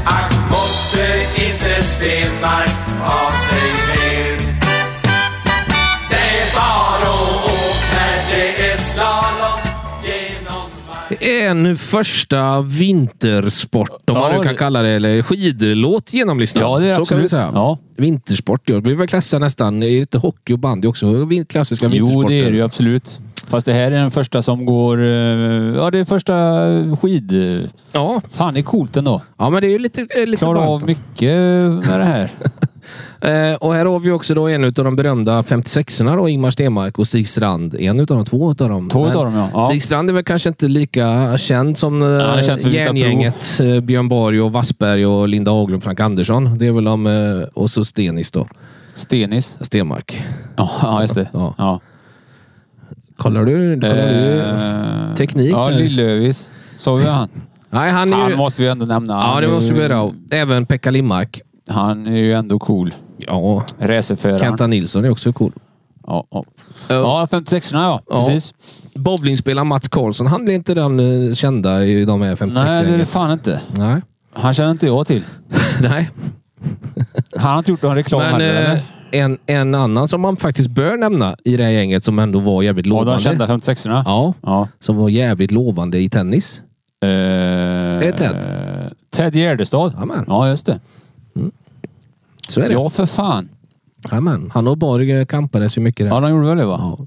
[SPEAKER 1] Ack måtte inte Stenmark ha sig med. Det är bara att åka när det är slalom genom marken.
[SPEAKER 3] En första vintersport, om
[SPEAKER 4] Ja,
[SPEAKER 3] man nu
[SPEAKER 4] det-
[SPEAKER 3] kan kalla det, eller skidlåt genomlyssnad.
[SPEAKER 4] Ja, det är
[SPEAKER 3] Så kan vi
[SPEAKER 4] absolut.
[SPEAKER 3] säga.
[SPEAKER 4] Ja.
[SPEAKER 3] Vintersport, ja. det blir väl klassa nästan. Är det inte hockey och bandy också? Vin- Klassiska
[SPEAKER 4] Jo,
[SPEAKER 3] vintersporter.
[SPEAKER 4] det är det ju absolut. Fast det här är den första som går... eh, Ja, det är första skid...
[SPEAKER 3] Ja,
[SPEAKER 4] Fan, det är coolt ändå.
[SPEAKER 3] ja men det är ju lite, eh, lite
[SPEAKER 4] Klarar
[SPEAKER 3] brant.
[SPEAKER 4] av mycket med det här.
[SPEAKER 3] Eh, och här har vi också då en av de berömda 56orna då, Ingmar Stenmark och Stig Strand. En utav dem, två utav dem.
[SPEAKER 4] Två
[SPEAKER 3] Men
[SPEAKER 4] utav dem, ja. Ja.
[SPEAKER 3] Stig Strand är väl kanske inte lika känd som eh,
[SPEAKER 4] han är känd för Vita
[SPEAKER 3] järngänget eh, Björn Borg och Wassberg och Linda Haglund, Frank Andersson. Det är väl de, eh, och så Stenis då.
[SPEAKER 4] Stenis.
[SPEAKER 3] Stenmark.
[SPEAKER 4] Ja, just det.
[SPEAKER 3] Ja.
[SPEAKER 4] Ja.
[SPEAKER 3] Kollar du? Kollar du?
[SPEAKER 4] Eh,
[SPEAKER 3] teknik
[SPEAKER 4] Ja,
[SPEAKER 3] där.
[SPEAKER 4] Lillövis. Så vi han.
[SPEAKER 3] Nej, han är ju...
[SPEAKER 4] Han måste Mm. vi ändå nämna.
[SPEAKER 3] ja,
[SPEAKER 4] Han
[SPEAKER 3] det
[SPEAKER 4] är
[SPEAKER 3] måste
[SPEAKER 4] ju-
[SPEAKER 3] vi göra. Även Pekka Lindmark.
[SPEAKER 4] Han är ju ändå cool.
[SPEAKER 3] Ja,
[SPEAKER 4] Racerföraren.
[SPEAKER 3] Kenta Nilsson är också cool.
[SPEAKER 4] Ja, ja. ja 56 ja.
[SPEAKER 3] Ja.
[SPEAKER 4] Precis.
[SPEAKER 3] Bowlingspelaren Mats Karlsson, han blir inte den eh, kända i de här 56
[SPEAKER 4] Nej, det är det fan inte.
[SPEAKER 3] Nej.
[SPEAKER 4] Han känner inte jag till.
[SPEAKER 3] Nej.
[SPEAKER 4] Han har inte gjort någon reklam
[SPEAKER 3] Men
[SPEAKER 4] heller.
[SPEAKER 3] eh,
[SPEAKER 4] eller?
[SPEAKER 3] en, en annan som man faktiskt bör nämna i det här gänget som ändå var jävligt
[SPEAKER 4] Ja, de
[SPEAKER 3] lovande.
[SPEAKER 4] kända 56 erna
[SPEAKER 3] Ja,
[SPEAKER 4] Ja.
[SPEAKER 3] som var jävligt lovande i tennis.
[SPEAKER 4] Eh,
[SPEAKER 3] är Ted.
[SPEAKER 4] eh, Ted Gärdestad.
[SPEAKER 3] Jajamän.
[SPEAKER 4] Ja, just det.
[SPEAKER 3] Så är det.
[SPEAKER 4] Ja, för fan.
[SPEAKER 3] Jajamän. Han och Borg kampades ju mycket där.
[SPEAKER 4] Ja, de gjorde väl det va?
[SPEAKER 3] Ja.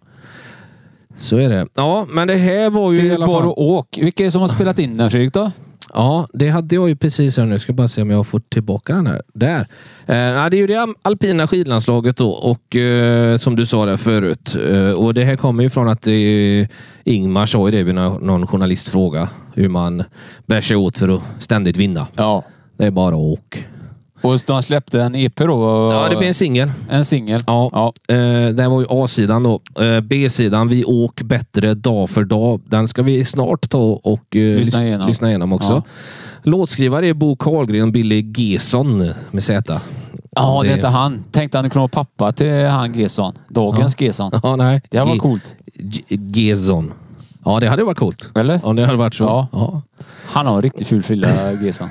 [SPEAKER 3] Så är det. Ja, men det här var ju
[SPEAKER 4] Det
[SPEAKER 3] i
[SPEAKER 4] är
[SPEAKER 3] alla
[SPEAKER 4] bara
[SPEAKER 3] fall...
[SPEAKER 4] att åk. Vilka är det som har spelat in den Fredrik då?
[SPEAKER 3] Ja, det hade jag ju precis här nu. Ska bara se om jag får tillbaka den här. Där. Eh, ja, det är ju det alpina skidlandslaget då och eh, som du sa där förut. Eh, och det här kommer ju från att eh, Ingmar sa ju det vid nå- någon journalistfråga. Hur man bär sig åt för att ständigt vinna.
[SPEAKER 4] Ja.
[SPEAKER 3] Det är bara åk.
[SPEAKER 4] Och de släppte en EP då?
[SPEAKER 3] Ja, det blir en singel.
[SPEAKER 4] En singel?
[SPEAKER 3] Ja.
[SPEAKER 4] ja.
[SPEAKER 3] Eh, det här var ju A-sidan då. Eh, B-sidan, Vi åk bättre dag för dag. Den ska vi snart ta och eh,
[SPEAKER 4] Lyssna
[SPEAKER 3] lys-
[SPEAKER 4] igenom.
[SPEAKER 3] lyssna igenom också.
[SPEAKER 4] Ja.
[SPEAKER 3] Låtskrivare är Bo Karlgren och Billy Gesson med Z.
[SPEAKER 4] Ja, det
[SPEAKER 3] Det-
[SPEAKER 4] hette han. Tänkte han kunde vara pappa till han Gesson. Dagens Gesson.
[SPEAKER 3] Ja, nej.
[SPEAKER 4] Det här var
[SPEAKER 3] Ge-
[SPEAKER 4] coolt.
[SPEAKER 3] Ge- Gesson. Ja, det hade varit coolt.
[SPEAKER 4] Eller?
[SPEAKER 3] Om det hade varit så.
[SPEAKER 4] Ja.
[SPEAKER 3] ja.
[SPEAKER 4] Han har en riktigt ful frilla, Gesson.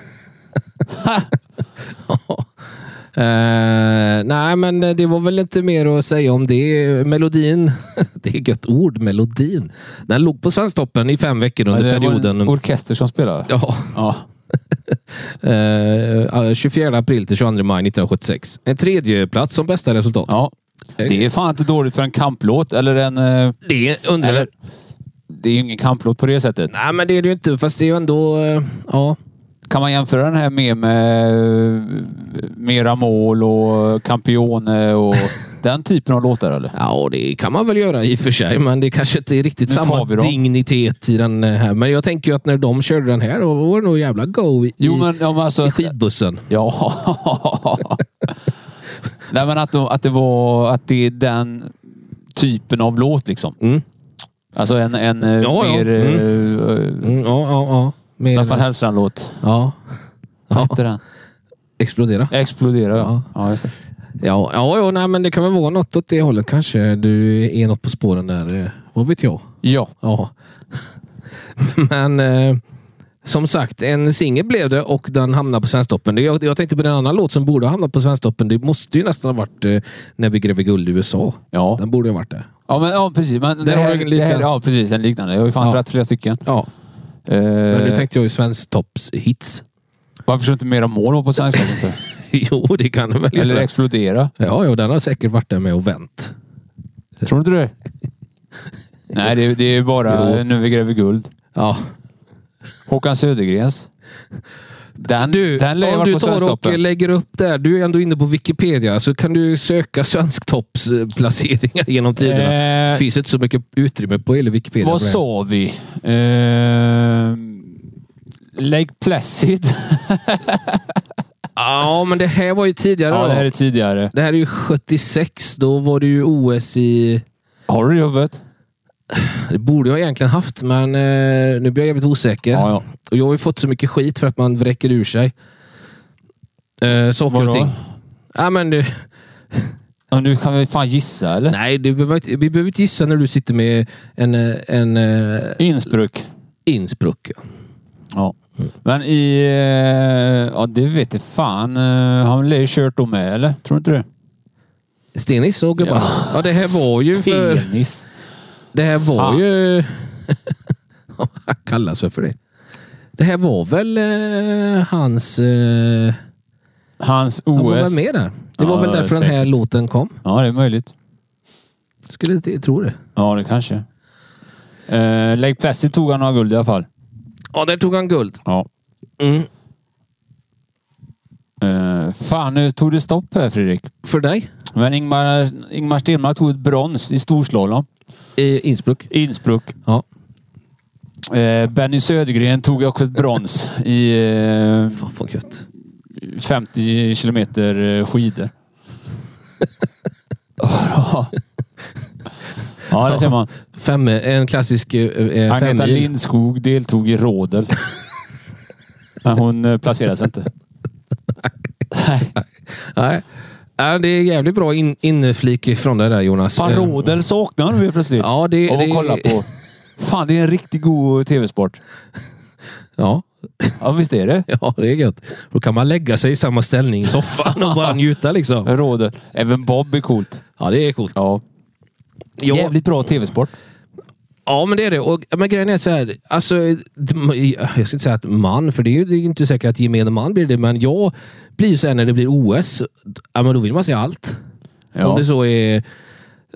[SPEAKER 3] Eh, nej, men det var väl inte mer att säga om det. Melodin, det är gött ord, melodin. Den låg på Svensktoppen i fem veckor under
[SPEAKER 4] det var
[SPEAKER 3] perioden.
[SPEAKER 4] en orkester som spelade.
[SPEAKER 3] Ja.
[SPEAKER 4] Ja.
[SPEAKER 3] Eh, 24 april till 22 maj 1976. En tredje plats som bästa resultat.
[SPEAKER 4] ja. Det är fan inte dåligt för en kamplåt. Eller en... eh,
[SPEAKER 3] Det undrar...
[SPEAKER 4] Eller, det är ju ingen kamplåt på det sättet.
[SPEAKER 3] Nej, men det är det ju inte. Fast det är ju ändå... eh, ja.
[SPEAKER 4] Kan man jämföra den här mer med eh, Mera mål och Campione och den typen av låtar eller?
[SPEAKER 3] ja, det kan man väl göra i och för sig. Men det kanske inte är riktigt
[SPEAKER 4] Nu tar
[SPEAKER 3] samma
[SPEAKER 4] vi dem.
[SPEAKER 3] dignitet i den eh, här. Men jag tänker ju att när de körde den här, då var det nog jävla go i,
[SPEAKER 4] Jo, men om alltså...
[SPEAKER 3] i skidbussen.
[SPEAKER 4] Ja. Nej, men att, de, att det var... Att det är den typen av låt liksom.
[SPEAKER 3] Mm.
[SPEAKER 4] Alltså en, en eh,
[SPEAKER 3] Ja, ja.
[SPEAKER 4] mer... eh, eh,
[SPEAKER 3] Mm, ja, ja, ja. Mer-
[SPEAKER 4] Staffan Hellstrand-låt.
[SPEAKER 3] Ja.
[SPEAKER 4] Vad
[SPEAKER 3] Ja.
[SPEAKER 4] hette den?
[SPEAKER 3] Explodera.
[SPEAKER 4] Explodera,
[SPEAKER 3] Ja.
[SPEAKER 4] ja. ja just det.
[SPEAKER 3] Ja, ja, ja nej, men det kan väl vara något åt det hållet kanske. Du är något på spåren där. eh, Vad vet jag?
[SPEAKER 4] ja.
[SPEAKER 3] Ja. Men eh, som sagt, en singel blev det och den hamnade på Svensktoppen. Det- Jag, jag tänkte på den annan låt som borde ha hamnat på Svensktoppen. Det måste ju nästan ha varit eh, När vi gräver guld i USA.
[SPEAKER 4] Ja.
[SPEAKER 3] Den borde ha varit där.
[SPEAKER 4] Ja, men, ja precis. Men det
[SPEAKER 3] har
[SPEAKER 4] här,
[SPEAKER 3] du en lika-
[SPEAKER 4] det här, ja, precis. En liknande. Jag har ju fan
[SPEAKER 3] Ja.
[SPEAKER 4] dragit flera stycken.
[SPEAKER 3] Ja,
[SPEAKER 4] Eh,
[SPEAKER 3] men nu tänkte jag ju Svensktops hits.
[SPEAKER 4] Varför skulle inte mera mål vara på svenska? inte?
[SPEAKER 3] Jo, det kan den väl
[SPEAKER 4] Eller
[SPEAKER 3] göra.
[SPEAKER 4] explodera?
[SPEAKER 3] Ja, ja, den har säkert varit där med och vänt.
[SPEAKER 4] Tror inte du det? Nej, det, det är bara
[SPEAKER 3] Jo.
[SPEAKER 4] Nu vi gräver guld.
[SPEAKER 3] Ja.
[SPEAKER 4] Håkan Södergrens. Den,
[SPEAKER 3] Du,
[SPEAKER 4] den lär ju
[SPEAKER 3] om
[SPEAKER 4] varit
[SPEAKER 3] du
[SPEAKER 4] på
[SPEAKER 3] tar och
[SPEAKER 4] Svensktoppen.
[SPEAKER 3] lägger upp där. Du är ändå inne på Wikipedia, så kan du söka Svensktoppsplaceringar genom tiderna. Det
[SPEAKER 4] Eh,
[SPEAKER 3] finns inte så mycket utrymme på hela Wikipedia.
[SPEAKER 4] vad
[SPEAKER 3] för det.
[SPEAKER 4] sa vi? Eh, Lake Placid.
[SPEAKER 3] Ja, men det här var ju tidigare.
[SPEAKER 4] ja,
[SPEAKER 3] då.
[SPEAKER 4] det här är tidigare.
[SPEAKER 3] det här är ju 76. Då var det ju OS i...
[SPEAKER 4] Har du det i huvudet?
[SPEAKER 3] Det borde jag egentligen haft, men eh, nu blir jag jävligt osäker.
[SPEAKER 4] Ja, ja.
[SPEAKER 3] Och jag har ju fått så mycket skit för att man vräker ur sig. Eh, saker
[SPEAKER 4] Vadå?
[SPEAKER 3] och ting. Ja, men, det-
[SPEAKER 4] Ja, nu kan vi fan gissa, eller?
[SPEAKER 3] nej, det behöver, inte- vi behöver inte gissa när du sitter med en, eh, en eh,
[SPEAKER 4] Innsbruck.
[SPEAKER 3] Innsbruck.
[SPEAKER 4] Ja. Men i... eh, Ja, det vet jag fan. Eh, Han lär ju kört då med, eller? Tror inte du?
[SPEAKER 3] Stenis och gubbarna. Ja.
[SPEAKER 4] Ja.
[SPEAKER 3] det här var ju för...
[SPEAKER 4] Stenis.
[SPEAKER 3] Det här var
[SPEAKER 4] Fan.
[SPEAKER 3] ju... Han kallas väl för det. Det här var väl eh, hans... Eh,
[SPEAKER 4] Hans
[SPEAKER 3] han var väl
[SPEAKER 4] OS.
[SPEAKER 3] med där. Det var
[SPEAKER 4] Ja,
[SPEAKER 3] väl därför den här låten kom.
[SPEAKER 4] Ja, det är möjligt.
[SPEAKER 3] Skulle inte tro det.
[SPEAKER 4] Ja, det kanske. Eh, Lake Placid tog han några guld i alla fall.
[SPEAKER 3] Ja, där tog han guld.
[SPEAKER 4] Ja.
[SPEAKER 3] Mm.
[SPEAKER 4] Eh, fan, nu tog det stopp här, Fredrik.
[SPEAKER 3] För dig?
[SPEAKER 4] Men Ingmar, Ingmar Stenmark tog ett brons i storslalom.
[SPEAKER 3] I Innsbruck?
[SPEAKER 4] Innsbruck.
[SPEAKER 3] Ja.
[SPEAKER 4] Eh, Benny Södergren tog också ett brons i eh,
[SPEAKER 3] Fan vad gött.
[SPEAKER 4] 50 kilometer eh, skidor. ja, det ser man.
[SPEAKER 3] Fem, en klassisk eh, eh,
[SPEAKER 4] Agneta
[SPEAKER 3] femmil.
[SPEAKER 4] Lindskog deltog i rådel. Men hon eh, placerades inte. Nej.
[SPEAKER 3] Nej. Ja, det är jävligt bra in, inflik från dig där Jonas.
[SPEAKER 4] Fan,
[SPEAKER 3] Eh,
[SPEAKER 4] rådel saknar vi plötsligt.
[SPEAKER 3] Ja, det...
[SPEAKER 4] Och
[SPEAKER 3] det
[SPEAKER 4] kolla på. Fan, det är en riktigt god tv-sport.
[SPEAKER 3] Ja,
[SPEAKER 4] Ja, visst är det.
[SPEAKER 3] Ja, det är gött. Då kan man lägga sig i samma ställning i soffan och bara njuta liksom.
[SPEAKER 4] Rådel. Även Bob är coolt.
[SPEAKER 3] Ja, det är coolt.
[SPEAKER 4] Ja.
[SPEAKER 3] Ja,
[SPEAKER 4] Jävligt bra tv-sport.
[SPEAKER 3] ja men det är det. Och, men grejen är så här. Alltså, d- jag ska inte säga att man, för det är ju det är ju inte säkert att gemene man blir det, men jag blir ju så här när det blir OS. Ja, men då vill man se allt. Om
[SPEAKER 4] Ja.
[SPEAKER 3] det så är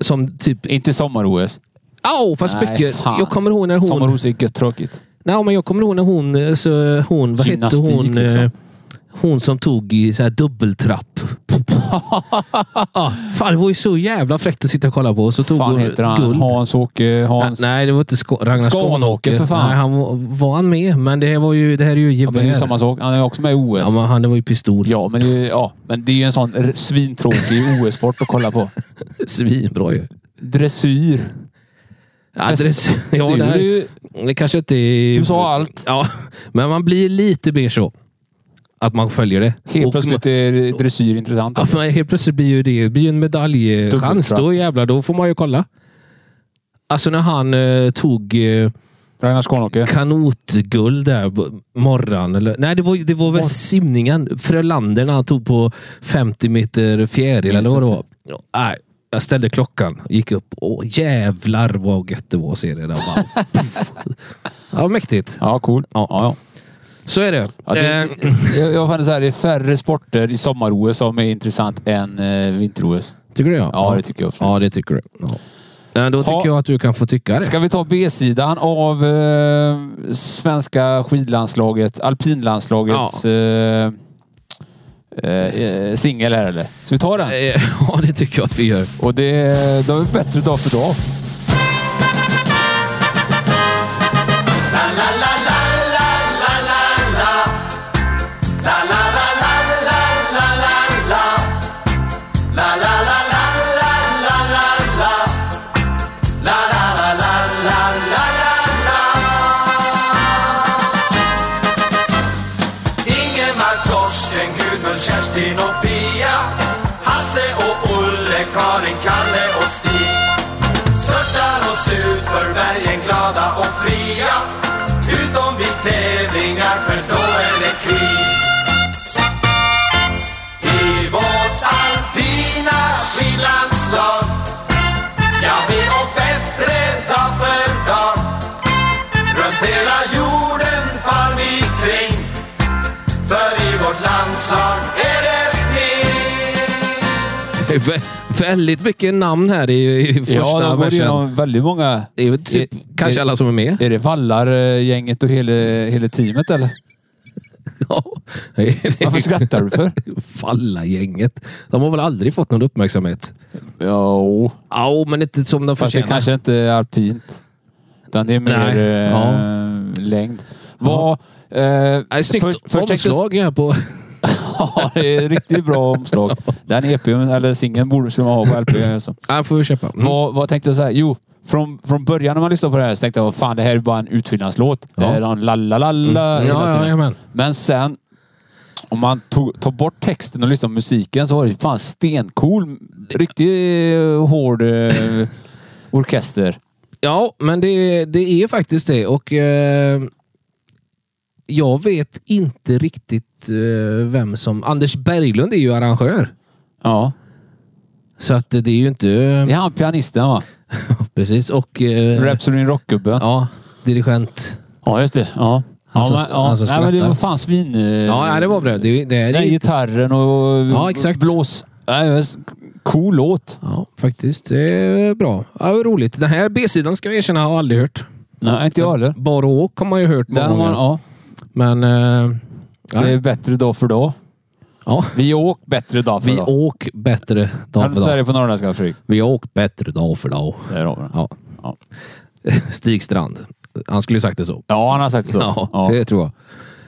[SPEAKER 3] som typ...
[SPEAKER 4] Inte sommar-OS.
[SPEAKER 3] Au, fast
[SPEAKER 4] Nej,
[SPEAKER 3] mycket.
[SPEAKER 4] fan.
[SPEAKER 3] Jag kommer ihåg när hon...
[SPEAKER 4] Sommar-OS är gött tråkigt.
[SPEAKER 3] Nej, men jag kommer ihåg när hon... eh, Så, hon vad hette
[SPEAKER 4] Gymnastik,
[SPEAKER 3] hon? eh,
[SPEAKER 4] liksom.
[SPEAKER 3] Hon som tog i så här dubbeltrapp. ja, fan, det var ju så jävla fräckt att sitta och kolla på. Så tog
[SPEAKER 4] fan
[SPEAKER 3] hon
[SPEAKER 4] heter han?
[SPEAKER 3] guld.
[SPEAKER 4] Hans-Åke Hans...
[SPEAKER 3] Ah, Nej, nej, det var inte Sk Ragnar
[SPEAKER 4] Skanåker,
[SPEAKER 3] Skanåker.
[SPEAKER 4] för fan.
[SPEAKER 3] Nej, han var, var han med? Men det här, var ju, det här är ju
[SPEAKER 4] Ja,
[SPEAKER 3] gevär.
[SPEAKER 4] men det är ju samma sak. Han är också med i OS.
[SPEAKER 3] Ja, men han det var ju pistol.
[SPEAKER 4] Ja, men det är, ja, men det är ju en sån r- svintråkig OS-sport att kolla på.
[SPEAKER 3] Svinbra ju.
[SPEAKER 4] Dressyr.
[SPEAKER 3] Adress. Ja,
[SPEAKER 4] det
[SPEAKER 3] det,
[SPEAKER 4] är
[SPEAKER 3] här,
[SPEAKER 4] ju,
[SPEAKER 3] det kanske inte är...
[SPEAKER 4] du sa allt.
[SPEAKER 3] Ja, men man blir lite mer så. Att man följer det.
[SPEAKER 4] Helt
[SPEAKER 3] Och-
[SPEAKER 4] plötsligt är dressyr intressant.
[SPEAKER 3] Ja, för helt plötsligt blir ju det, det blir ju en medaljchans.
[SPEAKER 4] Dubbeltrapp.
[SPEAKER 3] Då jävlar, då får man ju kolla. Alltså när han eh, tog... Eh,
[SPEAKER 4] Ragnar Skanåker.
[SPEAKER 3] kanotguld där på morgon. Eller, nej, det var, det var väl simningen. Frölander när han tog på 50 meter fjäril eller vad det var. Ja, Nej, jag ställde klockan gick upp. Åh, jävlar vad gött det var att se det där. Bara, puff. ja, mäktigt.
[SPEAKER 4] Ja, cool. Ja, ja.
[SPEAKER 3] Så är det.
[SPEAKER 4] Ja, det,
[SPEAKER 3] Eh,
[SPEAKER 4] jag, jag fann så här, det är färre sporter i sommar-OS som är intressant än eh, vinter-OS.
[SPEAKER 3] tycker du? Ja,
[SPEAKER 4] Ja, det tycker jag absolut.
[SPEAKER 3] Ja, det tycker du. Ja. Eh, Då tycker
[SPEAKER 4] Ha.
[SPEAKER 3] jag att du kan få tycka det.
[SPEAKER 4] Ska vi ta B-sidan av eh, svenska skidlandslaget, alpinlandslagets eh, eh, singel här eller? Ska vi ta den?
[SPEAKER 3] Eh, Ja, det tycker jag att vi gör.
[SPEAKER 4] Och det, det har vi bättre dag för dag.
[SPEAKER 1] La la la la la la la la La la la la la la la la La la la la la la la la La la la la la la la la Ingemar, Torsten, Gudmund, Kerstin och Pia Hasse och Olle, Karin, Kalle och Stig Störtar oss ut för bergen glada och fria Utom vid tävlingar för då är det krig I vårt alpina skidlandslag Ja, vi och fettre dag för dag Runt hela jorden far vi kring För i vårt landslag är det sting
[SPEAKER 3] Det är vä- Väldigt mycket namn här i, i första
[SPEAKER 4] Ja, de går
[SPEAKER 3] versen.
[SPEAKER 4] igenom väldigt många.
[SPEAKER 3] Det är väl typ,
[SPEAKER 4] I-
[SPEAKER 3] kanske
[SPEAKER 4] i-
[SPEAKER 3] alla som är med.
[SPEAKER 4] Är det vallargänget och hela, hela teamet eller?
[SPEAKER 3] Ja. Det är-
[SPEAKER 4] Varför skrattar du för?
[SPEAKER 3] Falla-gänget. De har väl aldrig fått någon uppmärksamhet?
[SPEAKER 4] Jo,
[SPEAKER 3] Ja, men inte som de
[SPEAKER 4] fast det
[SPEAKER 3] förtjänar.
[SPEAKER 4] kanske inte är alpint. Utan det är mer
[SPEAKER 3] Nej.
[SPEAKER 4] eh,
[SPEAKER 3] Ja.
[SPEAKER 4] längd. Vad... Eh,
[SPEAKER 3] Nej, snyggt
[SPEAKER 4] för- först tänkte-
[SPEAKER 3] omslag här på...
[SPEAKER 4] Ja, det är riktigt bra omslag. Den EPn, eller singeln, borde skulle man ha på LP. Alltså.
[SPEAKER 3] Nej, får vi köpa. Mm.
[SPEAKER 4] Vad, vad tänkte jag säga? Jo, från, från början när man lyssnade på det här så tänkte jag fan det här är bara en utfyllnadslåt.
[SPEAKER 3] Ja.
[SPEAKER 4] Det är en la-la-la-la.
[SPEAKER 3] Mm. Ja,
[SPEAKER 4] hela
[SPEAKER 3] ja,
[SPEAKER 4] tiden.
[SPEAKER 3] jajamän.
[SPEAKER 4] Men sen, om man tog, tar bort texten och lyssnar på musiken så var det fan stencool, riktigt eh, hård eh, orkester.
[SPEAKER 3] Ja, men det, det är faktiskt det. Och eh, Jag vet inte riktigt eh, vem som... Anders Berglund är ju arrangör.
[SPEAKER 4] Ja,
[SPEAKER 3] Så att det är ju inte...
[SPEAKER 4] det är han pianisten va?
[SPEAKER 3] Precis. Och... Eh,
[SPEAKER 4] Rhapsody in rock-gubben. Ja.
[SPEAKER 3] Ja, dirigent.
[SPEAKER 4] just det. Ja.
[SPEAKER 3] Han
[SPEAKER 4] Ja,
[SPEAKER 3] som-
[SPEAKER 4] men, ja.
[SPEAKER 3] han som
[SPEAKER 4] Nej, men det
[SPEAKER 3] skrattar.
[SPEAKER 4] var fan svin... eh,
[SPEAKER 3] Ja, nej, det var bra. Det, det är
[SPEAKER 4] Nej, gitarren och
[SPEAKER 3] Ja, exakt.
[SPEAKER 4] blås. Nej, det är s- cool låt.
[SPEAKER 3] Ja, faktiskt. Det är bra. Ja, det är roligt. Den här B-sidan ska jag erkänna, har jag aldrig hört.
[SPEAKER 4] Nej, inte jag heller.
[SPEAKER 3] Bara åk har man ju hört många
[SPEAKER 4] Den har
[SPEAKER 3] gånger.
[SPEAKER 4] man, ja.
[SPEAKER 3] Men... eh,
[SPEAKER 4] Det
[SPEAKER 3] nej.
[SPEAKER 4] är bättre dag för dag.
[SPEAKER 3] ja.
[SPEAKER 4] Vi åk bättre dag för
[SPEAKER 3] Vi
[SPEAKER 4] dag.
[SPEAKER 3] åk bättre dag för
[SPEAKER 4] Så Alltså, är
[SPEAKER 3] dag.
[SPEAKER 4] det på norrländska Fredrik.
[SPEAKER 3] Vi åk bättre dag för dag.
[SPEAKER 4] Där har vi den.
[SPEAKER 3] Ja.
[SPEAKER 4] Ja.
[SPEAKER 3] Stig Strand. Han skulle ju sagt det så.
[SPEAKER 4] Ja, han har sagt så.
[SPEAKER 3] Ja,
[SPEAKER 4] Ja.
[SPEAKER 3] det tror jag.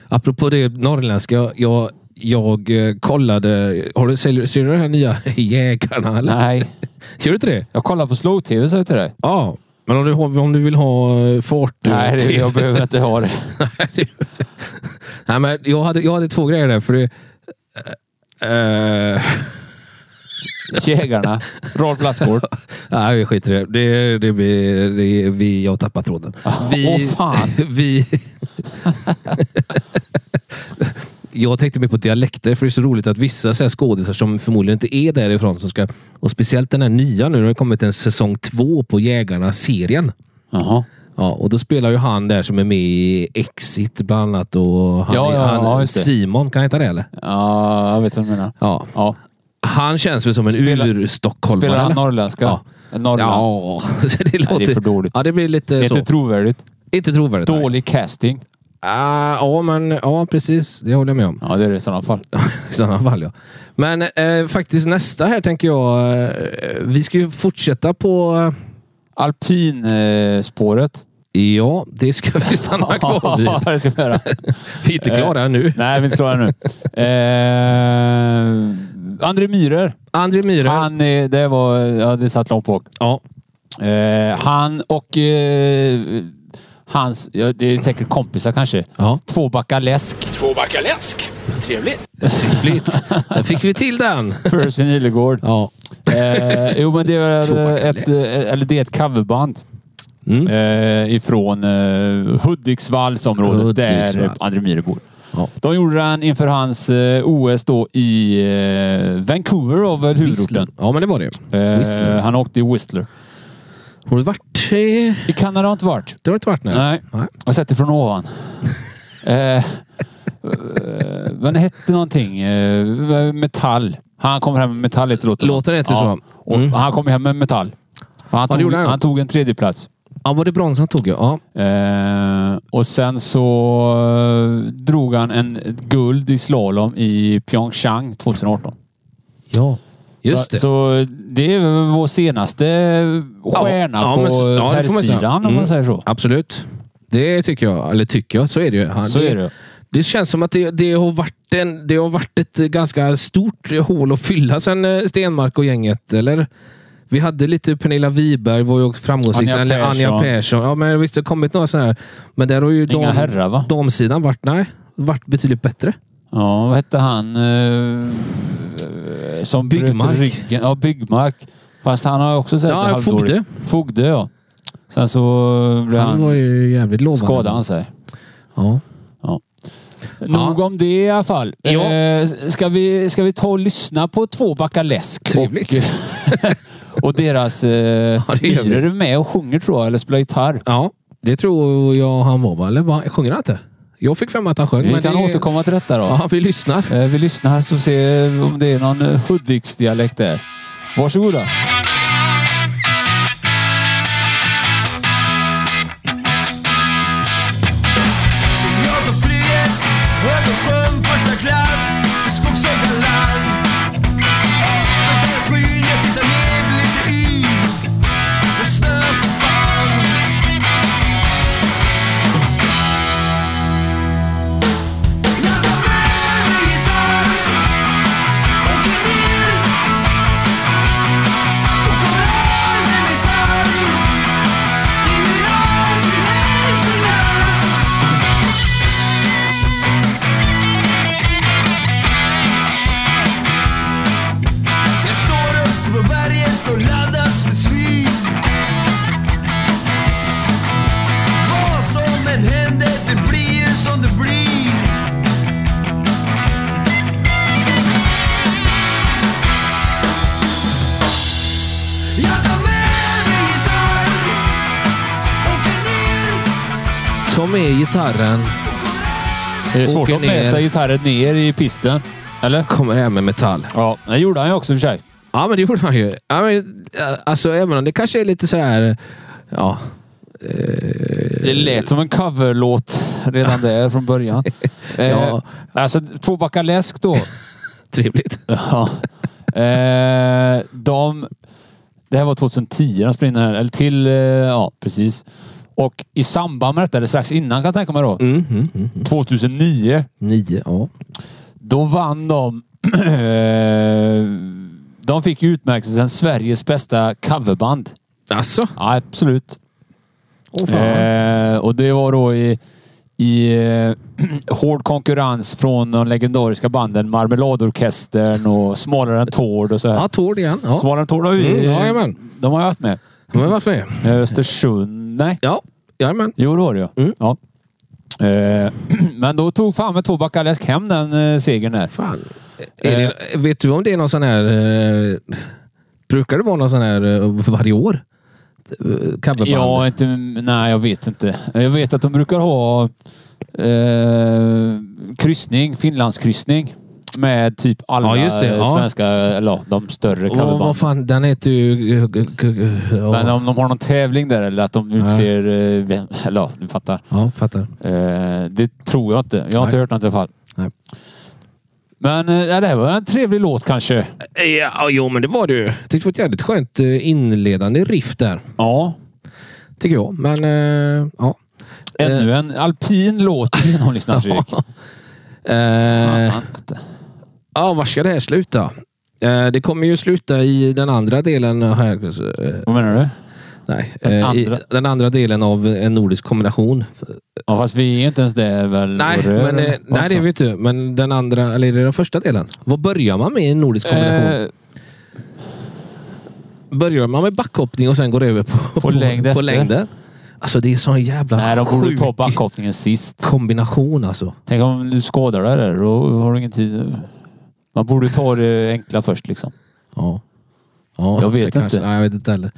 [SPEAKER 3] Apropå det norrländska. Jag, jag eh, kollade... Har du, ser, du- ser du de här nya jägarna? Eller?
[SPEAKER 4] Nej,
[SPEAKER 3] Ser du inte det?
[SPEAKER 4] jag kollar på slow-tv sa jag till dig.
[SPEAKER 3] Ja. Men om du, har- om du vill ha eh, fart...
[SPEAKER 4] Nej, det, jag behöver inte ha det.
[SPEAKER 3] Nej, men jag hade, jag hade två grejer där. För det, eh, eh,
[SPEAKER 4] Jägarna. Rolf Lassgård.
[SPEAKER 3] nej, vi skiter i det. Det, det, blir, det vi, jag tappar tråden. Vi,
[SPEAKER 4] Åh, fan.
[SPEAKER 3] Vi, jag tänkte mer på dialekter, för det är så roligt att vissa så här skådisar som förmodligen inte är därifrån, som ska, och speciellt den här nya nu, det har kommit en säsong två på Jägarna-serien.
[SPEAKER 4] Jaha.
[SPEAKER 3] Ja, och då spelar ju han där som är med i Exit bland annat. Och han,
[SPEAKER 4] Ja, ja,
[SPEAKER 3] han,
[SPEAKER 4] ja, just det.
[SPEAKER 3] Simon, kan han heta det eller?
[SPEAKER 4] Ja, jag vet vad du menar.
[SPEAKER 3] Ja.
[SPEAKER 4] Ja.
[SPEAKER 3] Han känns väl som en
[SPEAKER 4] Spelar-
[SPEAKER 3] ur-stockholmare?
[SPEAKER 4] Spelar han
[SPEAKER 3] eller?
[SPEAKER 4] norrländska?
[SPEAKER 3] Ja.
[SPEAKER 4] Norrland.
[SPEAKER 3] Ja, så det låter...
[SPEAKER 4] för dåligt.
[SPEAKER 3] Ja, det blir
[SPEAKER 4] Det
[SPEAKER 3] lite
[SPEAKER 4] är
[SPEAKER 3] så.
[SPEAKER 4] inte trovärdigt.
[SPEAKER 3] inte trovärdigt. nej.
[SPEAKER 4] Dålig casting.
[SPEAKER 3] Ah, ja, men ja, precis. Det håller jag med om.
[SPEAKER 4] Ja, det är det i sådana fall.
[SPEAKER 3] I sådana fall, ja. Men eh, faktiskt nästa här tänker jag... Eh, vi ska ju fortsätta på...
[SPEAKER 4] Alpinspåret.
[SPEAKER 3] eh, Ja, det ska vi stanna kvar vid.
[SPEAKER 4] Ja, det ska vi göra.
[SPEAKER 3] Vi är inte klara nu.
[SPEAKER 4] Nej, vi är inte klara nu. Eh, André Myhrer.
[SPEAKER 3] André Myhre.
[SPEAKER 4] Han, eh, det var, ja, det satt långt bak.
[SPEAKER 3] Ja.
[SPEAKER 4] Eh, han och eh, hans, ja, det är säkert kompisar kanske.
[SPEAKER 3] ja.
[SPEAKER 4] Tvåbacka läsk.
[SPEAKER 5] Tvåbacka läsk. Trevligt.
[SPEAKER 3] Trevligt. Där fick vi till den.
[SPEAKER 4] Percy Nilegård.
[SPEAKER 3] Ja.
[SPEAKER 4] Eh, jo, men det är väl
[SPEAKER 3] Tvåbacka
[SPEAKER 4] ett,
[SPEAKER 3] läsk.
[SPEAKER 4] eh, eller det är ett coverband.
[SPEAKER 3] Mm.
[SPEAKER 4] eh, ifrån eh, Hudiksvallsområdet där
[SPEAKER 3] Hudiksvall.
[SPEAKER 4] eh, André Myhre bor.
[SPEAKER 3] Ja.
[SPEAKER 4] De gjorde den inför hans eh, OS då i eh, Vancouver var väl huvudorten.
[SPEAKER 3] Ja, men det var det. Whistler.
[SPEAKER 4] Eh, han åkte i Whistler.
[SPEAKER 3] Har du varit... eh,
[SPEAKER 4] I Kanada har inte varit.
[SPEAKER 3] Det har du inte varit? Nej.
[SPEAKER 4] Nej.
[SPEAKER 3] Nej.
[SPEAKER 4] Jag har sett det från ovan. eh, eh, men det hette någonting. Eh, metall. Han kommer hem med metall heter låten.
[SPEAKER 3] Låten heter så.
[SPEAKER 4] Och
[SPEAKER 3] Mm.
[SPEAKER 4] Han kom hem med metall. För han,
[SPEAKER 3] Ja, det
[SPEAKER 4] tog,
[SPEAKER 3] gjorde han.
[SPEAKER 4] han tog en tredjeplats.
[SPEAKER 3] Ja, var det brons han tog? Ja. ja.
[SPEAKER 4] Eh, och sen så eh, drog han en ett guld i slalom i Pyeongchang 2018.
[SPEAKER 3] Ja. Just
[SPEAKER 4] så,
[SPEAKER 3] det.
[SPEAKER 4] Så det är väl vår senaste stjärna
[SPEAKER 3] ja,
[SPEAKER 4] på
[SPEAKER 3] men- ja, det får man säga.
[SPEAKER 4] herrsidan om
[SPEAKER 3] Mm.
[SPEAKER 4] man säger så.
[SPEAKER 3] Absolut. Det tycker jag. Eller tycker jag. Så är det ju. Han,
[SPEAKER 4] Så är det.
[SPEAKER 3] Det känns som att det, det, har varit en, det har varit ett ganska stort hål att fylla sen eh, Stenmark och gänget, eller? Vi hade lite Pernilla Wiberg, var ju också framgångsrik.
[SPEAKER 4] Anja
[SPEAKER 3] eller Anja
[SPEAKER 4] Persson.
[SPEAKER 3] Persson. Ja, men visst det har kommit några sådana här. Men där har ju
[SPEAKER 4] Inga herrar va?
[SPEAKER 3] damsidan varit, nej, varit betydligt bättre.
[SPEAKER 4] Ja, vad hette han eh, som
[SPEAKER 3] Byggmark.
[SPEAKER 4] bröt ryggen? Ja, Byggmark. Fast han har också sett
[SPEAKER 3] Ja,
[SPEAKER 4] det halvdåligt.
[SPEAKER 3] Fogde.
[SPEAKER 4] Fogde, ja. Sen så blev
[SPEAKER 3] Han var
[SPEAKER 4] han,
[SPEAKER 3] ju jävligt lovande.
[SPEAKER 4] skadade han sig.
[SPEAKER 3] Ja.
[SPEAKER 4] Nog om det i alla fall.
[SPEAKER 3] Ja.
[SPEAKER 4] Eh, ska, vi, ska vi ta och lyssna på två backar läsk?
[SPEAKER 3] Trevligt.
[SPEAKER 4] Och, och deras eh,
[SPEAKER 3] Ja, det gör vi.
[SPEAKER 4] myror är med och sjunger tror jag, eller spelar gitarr.
[SPEAKER 3] ja, det tror jag han var, va? Eller vad? Sjunger han inte? Jag fick för mig att han sjöng.
[SPEAKER 4] Vi
[SPEAKER 3] men
[SPEAKER 4] kan
[SPEAKER 3] det...
[SPEAKER 4] återkomma till detta då.
[SPEAKER 3] Ja, vi lyssnar.
[SPEAKER 4] Eh, vi lyssnar så ser om det är någon eh, Hudiksdialekt där. Varsågoda.
[SPEAKER 1] Jag tog flyget och jag sjöng första klass till Skogshuggarland. Öppet där skyn, jag tittar ner, blir lite yr. Och snö som fan. Jag tar med mig gitarr, åker ner. Och kommer här med gitarr. I min arm till Hälsingland. Jag står högst på berget och laddas med svin Vad som än händer, det blir ju som det blir Jag tar med mig gitarr Åker ner
[SPEAKER 3] Ta med gitarren.
[SPEAKER 1] och kommer hem
[SPEAKER 4] Är det svårt
[SPEAKER 3] Åker
[SPEAKER 4] att ha med
[SPEAKER 3] ner.
[SPEAKER 4] sig gitarren ner i pisten? Eller?
[SPEAKER 3] Kommer hem med metall.
[SPEAKER 4] Ja, det gjorde han ju också i och för sig.
[SPEAKER 3] Ja, men det gjorde han ju. Ja, men, eh, alltså, även om det kanske är lite sådär... Ja. eh,
[SPEAKER 4] Det lät som en coverlåt redan där från början.
[SPEAKER 3] Ja.
[SPEAKER 4] eh, alltså, två backar läsk då.
[SPEAKER 3] Trevligt.
[SPEAKER 4] ja. eh, de, det här var 2010 de spelade in den här. Eller till... Eh, ja, precis. Och i samband med detta, eller strax innan kan jag tänka mig då,
[SPEAKER 3] Mm, mm, mm.
[SPEAKER 4] 2009,
[SPEAKER 3] Nio, ja.
[SPEAKER 4] då vann de... de fick ju utmärkelsen Sveriges bästa coverband.
[SPEAKER 3] Alltså?
[SPEAKER 4] Ja, absolut.
[SPEAKER 3] Åh fan.
[SPEAKER 4] Eh, och det var då i, i eh, hård konkurrens från de legendariska banden Marmeladorkestern och Smalare än Tord och så här.
[SPEAKER 3] ja, Tord igen. Ja.
[SPEAKER 4] Smalare än Tord har vi.
[SPEAKER 3] Mm, jajamän.
[SPEAKER 4] de har jag haft med.
[SPEAKER 3] Men varför det?
[SPEAKER 4] Eh, Östersund. Nej.
[SPEAKER 3] Ja, jajamän.
[SPEAKER 4] Jo, det var det ju.
[SPEAKER 3] Mm.
[SPEAKER 4] Ja. Eh, men då tog fan med två backar läsk hem den eh, segern där.
[SPEAKER 3] Fan. Är det, vet du om det är någon sån här... Eh, brukar det vara någon sån här eh, varje år? Eh, Coverband?
[SPEAKER 4] Ja, inte, nej, jag vet inte. Jag vet att de brukar ha eh, kryssning, Finlandskryssning. Med typ alla
[SPEAKER 3] Ja, just det.
[SPEAKER 4] eh,
[SPEAKER 3] Ja.
[SPEAKER 4] svenska, eller ja, de större
[SPEAKER 3] Åh, vad
[SPEAKER 4] coverbanden.
[SPEAKER 3] fan. Den heter ju... eh, g- g-
[SPEAKER 4] Men
[SPEAKER 3] Ja,
[SPEAKER 4] om de har någon tävling där eller att de utser... eh, vem- Eller ja, du fattar.
[SPEAKER 3] ja fattar.
[SPEAKER 4] Eh, det tror jag inte. Jag har inte
[SPEAKER 3] Nej.
[SPEAKER 4] hört något i alla fall.
[SPEAKER 3] Nej.
[SPEAKER 4] Men eh, ja, det här var en trevlig låt kanske.
[SPEAKER 3] Ja, jo, men det var det ju. Jag tyckte det var ett jävligt skönt eh, inledande riff där.
[SPEAKER 4] Ja.
[SPEAKER 3] Tycker jag. Men eh, ja.
[SPEAKER 4] Ännu en alpin låt genomlyssnad Fredrik.
[SPEAKER 3] Eh,
[SPEAKER 4] Fan, att-
[SPEAKER 3] ja, var ska det här sluta? Eh, det kommer ju sluta i den andra delen. Här, eh,
[SPEAKER 4] Vad menar du?
[SPEAKER 3] nej,
[SPEAKER 4] Den
[SPEAKER 3] eh, I,
[SPEAKER 4] andra?
[SPEAKER 3] den andra delen av en nordisk kombination.
[SPEAKER 4] Ja, fast vi är ju inte ens det väl?
[SPEAKER 3] Nej,
[SPEAKER 4] och rör,
[SPEAKER 3] men, eh,
[SPEAKER 4] eller?
[SPEAKER 3] nej, det vet du. Men den andra, eller är det den första delen? Vad börjar man med i en nordisk kombination?
[SPEAKER 4] Eh,
[SPEAKER 3] Börjar man med backhoppning och sen går över på,
[SPEAKER 4] längd
[SPEAKER 3] på
[SPEAKER 4] efter?
[SPEAKER 3] längden? Alltså det är sån jävla
[SPEAKER 4] Nej, de borde
[SPEAKER 3] sjuk
[SPEAKER 4] ta backhoppningen sist.
[SPEAKER 3] kombination alltså.
[SPEAKER 4] Tänk om du skadar dig där. Då har du ingen tid. Man borde ta det enkla först liksom.
[SPEAKER 3] Ja. ja
[SPEAKER 4] Jag vet
[SPEAKER 3] det kanske-
[SPEAKER 4] inte.
[SPEAKER 3] Nej, jag vet inte heller.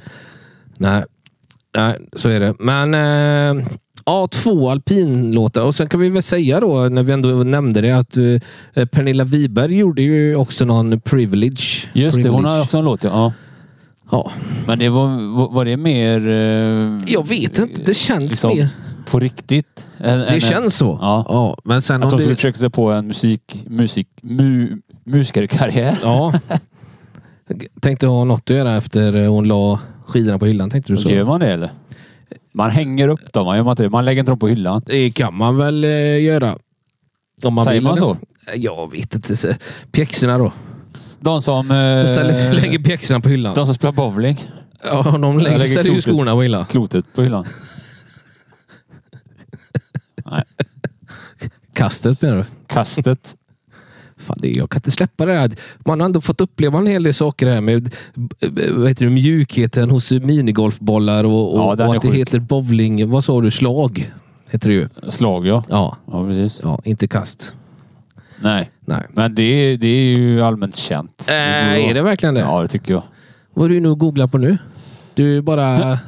[SPEAKER 3] Nej, nej så är det. Men eh, ja, två alpinlåtar. Och sen kan vi väl säga då, när vi ändå nämnde det, att eh, Pernilla Wiberg gjorde ju också någon privilege.
[SPEAKER 4] Just det, hon har
[SPEAKER 3] Privilege.
[SPEAKER 4] också en låt. Ja. Ja.
[SPEAKER 3] Ja,
[SPEAKER 4] Men det var, var- var det mer... eh,
[SPEAKER 3] jag vet inte. Det känns
[SPEAKER 4] liksom,
[SPEAKER 3] mer.
[SPEAKER 4] På riktigt? Än-
[SPEAKER 3] Det
[SPEAKER 4] än-
[SPEAKER 3] känns så.
[SPEAKER 4] Ja.
[SPEAKER 3] men sen
[SPEAKER 4] Att
[SPEAKER 3] om
[SPEAKER 4] de skulle
[SPEAKER 3] det...
[SPEAKER 4] försöka sig på en musik, musik, mu, musikerkarriär.
[SPEAKER 3] Ja. Jag tänkte ha något att göra efter eh, hon la skidorna på hyllan. Tänkte du så?
[SPEAKER 4] Gör man det eller? Man hänger upp dem, man gör man inte det? Man lägger inte dem på hyllan.
[SPEAKER 3] Det kan man väl eh, göra. Om man
[SPEAKER 4] Säger
[SPEAKER 3] vill
[SPEAKER 4] man
[SPEAKER 3] eller?
[SPEAKER 4] så?
[SPEAKER 3] Jag vet inte. Så- Pjäxorna då.
[SPEAKER 4] De som...
[SPEAKER 3] De
[SPEAKER 4] eh,
[SPEAKER 3] ställer, lägger pjäxorna på hyllan.
[SPEAKER 4] de som spelar bowling.
[SPEAKER 3] ja, de lägger,
[SPEAKER 4] lägger
[SPEAKER 3] ställer ju
[SPEAKER 4] klotet.
[SPEAKER 3] skorna på hyllan.
[SPEAKER 4] Klotet på hyllan.
[SPEAKER 3] Kastet menar du?
[SPEAKER 4] Kastet.
[SPEAKER 3] Fan, det, jag kan inte släppa det här. Man har ändå fått uppleva en hel del saker här med b- b- vad heter det, mjukheten hos minigolfbollar och, och,
[SPEAKER 4] Ja, den
[SPEAKER 3] och
[SPEAKER 4] är
[SPEAKER 3] att det
[SPEAKER 4] sjuk.
[SPEAKER 3] heter bowling. Vad sa du? Slag? Heter det ju.
[SPEAKER 4] Slag ja.
[SPEAKER 3] Ja,
[SPEAKER 4] Ja, precis.
[SPEAKER 3] ja inte kast.
[SPEAKER 4] Nej.
[SPEAKER 3] Nej.
[SPEAKER 4] Men det, det är ju allmänt känt. borde
[SPEAKER 3] Äh, är
[SPEAKER 4] vara-
[SPEAKER 3] det verkligen det?
[SPEAKER 4] Ja, det tycker jag.
[SPEAKER 3] Vad är du nu och googlar på nu? Du bara...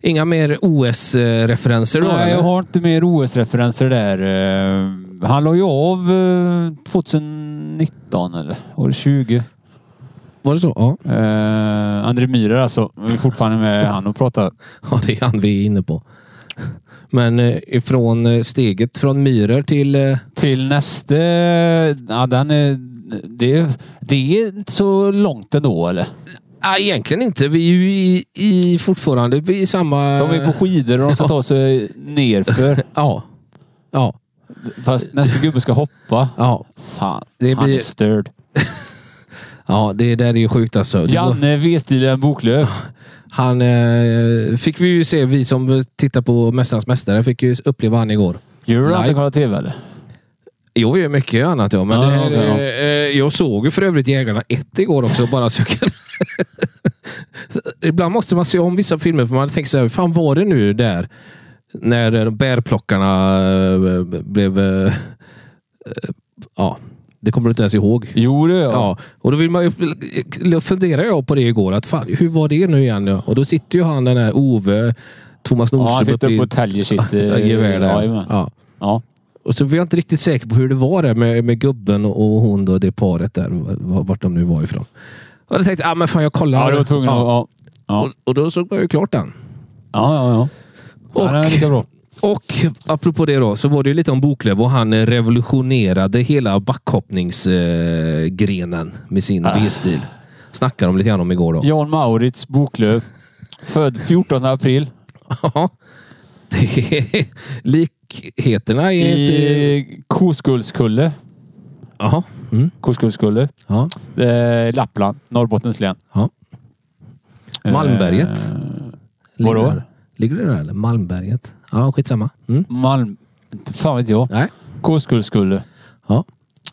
[SPEAKER 3] Inga mer OS-referenser då?
[SPEAKER 4] Nej,
[SPEAKER 3] eller?
[SPEAKER 4] jag har inte mer OS-referenser där. Eh, Han la ju av eh, 2019 eller år 20.
[SPEAKER 3] Var det så? Ja.
[SPEAKER 4] Eh, André Myhrer alltså. Vi är fortfarande med han och pratar.
[SPEAKER 3] ja, det är han vi är inne på. Men eh, ifrån eh, steget från Myhrer till... Eh,
[SPEAKER 4] Till nästa... Ja, den är, det, det är inte så långt ändå eller?
[SPEAKER 3] nej, ah, egentligen inte. Vi är ju i, i fortfarande vi är i samma...
[SPEAKER 4] De är på skidor och de ska ta sig nerför.
[SPEAKER 3] Ja. Ja.
[SPEAKER 4] Fast nästa gubbe ska hoppa.
[SPEAKER 3] Ja.
[SPEAKER 4] Fan,
[SPEAKER 3] Det
[SPEAKER 4] han
[SPEAKER 3] blir-
[SPEAKER 4] är störd.
[SPEAKER 3] Ja, det där är ju sjukt alltså. Det var-
[SPEAKER 4] Janne V-stilen Boklöv.
[SPEAKER 3] Han eh, fick vi ju se, vi som tittar på Mästarnas Mästare, fick ju uppleva han igår.
[SPEAKER 4] Gör du
[SPEAKER 3] Live.
[SPEAKER 4] inte kolla tv eller?
[SPEAKER 3] Jo, jag gör mycket annat. Ja. Men
[SPEAKER 4] Ja,
[SPEAKER 3] det,
[SPEAKER 4] okej, ja.
[SPEAKER 3] eh, jag såg ju för övrigt Jägarna 1 igår också. Bara så jag kan... Ibland måste man se om vissa filmer för man tänker så här, fan var det nu där? När eh, bärplockarna eh, blev... eh, eh, Ja, det kommer du inte ens ihåg.
[SPEAKER 4] Jo det gör jag.
[SPEAKER 3] Ja, och då vill man ju, funderar jag på det igår. Att fan, hur var det nu igen? Ja? Och då sitter ju han den här Ove, Thomas
[SPEAKER 4] Ja, han
[SPEAKER 3] Nordström
[SPEAKER 4] sitter uppe och täljer sitt eh,
[SPEAKER 3] Ja, gevär där.
[SPEAKER 4] jajamän.
[SPEAKER 3] Ja.
[SPEAKER 4] Ja.
[SPEAKER 3] Och så var jag inte riktigt säker på hur det var där med, med gubben och och hon och det paret där. v- v- Vart de nu var ifrån. Och jag tänkte, ah, men fan jag kollar.
[SPEAKER 4] Ja, du var tvungen att... Ja. Ja,
[SPEAKER 3] Och, och då såg jag ju klart den.
[SPEAKER 4] ja, ja. ja.
[SPEAKER 3] Och,
[SPEAKER 4] ja den är lika bra.
[SPEAKER 3] och apropå det då, så var det ju lite om Boklöv och han eh, revolutionerade hela backhoppningsgrenen eh, grenen med sin
[SPEAKER 4] Ah.
[SPEAKER 3] V-stil. Snackade de lite grann om igår då.
[SPEAKER 4] Jan Maurits Boklöv. Född 14 april.
[SPEAKER 3] Ja. Det är, likheterna är inte...
[SPEAKER 4] I Koskullskulle.
[SPEAKER 3] Jaha. Mm.
[SPEAKER 4] Koskullskulle.
[SPEAKER 3] Ja.
[SPEAKER 4] Eh, Lappland. Norrbottens län.
[SPEAKER 3] Ja.
[SPEAKER 4] Eh,
[SPEAKER 3] Malmberget. Ligger
[SPEAKER 4] Vadå?
[SPEAKER 3] det- Ligger det där eller? Malmberget? Ja, skitsamma. Mm.
[SPEAKER 4] Malm... Inte fan vet jag.
[SPEAKER 3] Nej.
[SPEAKER 4] Koskullskulle.
[SPEAKER 3] Ja.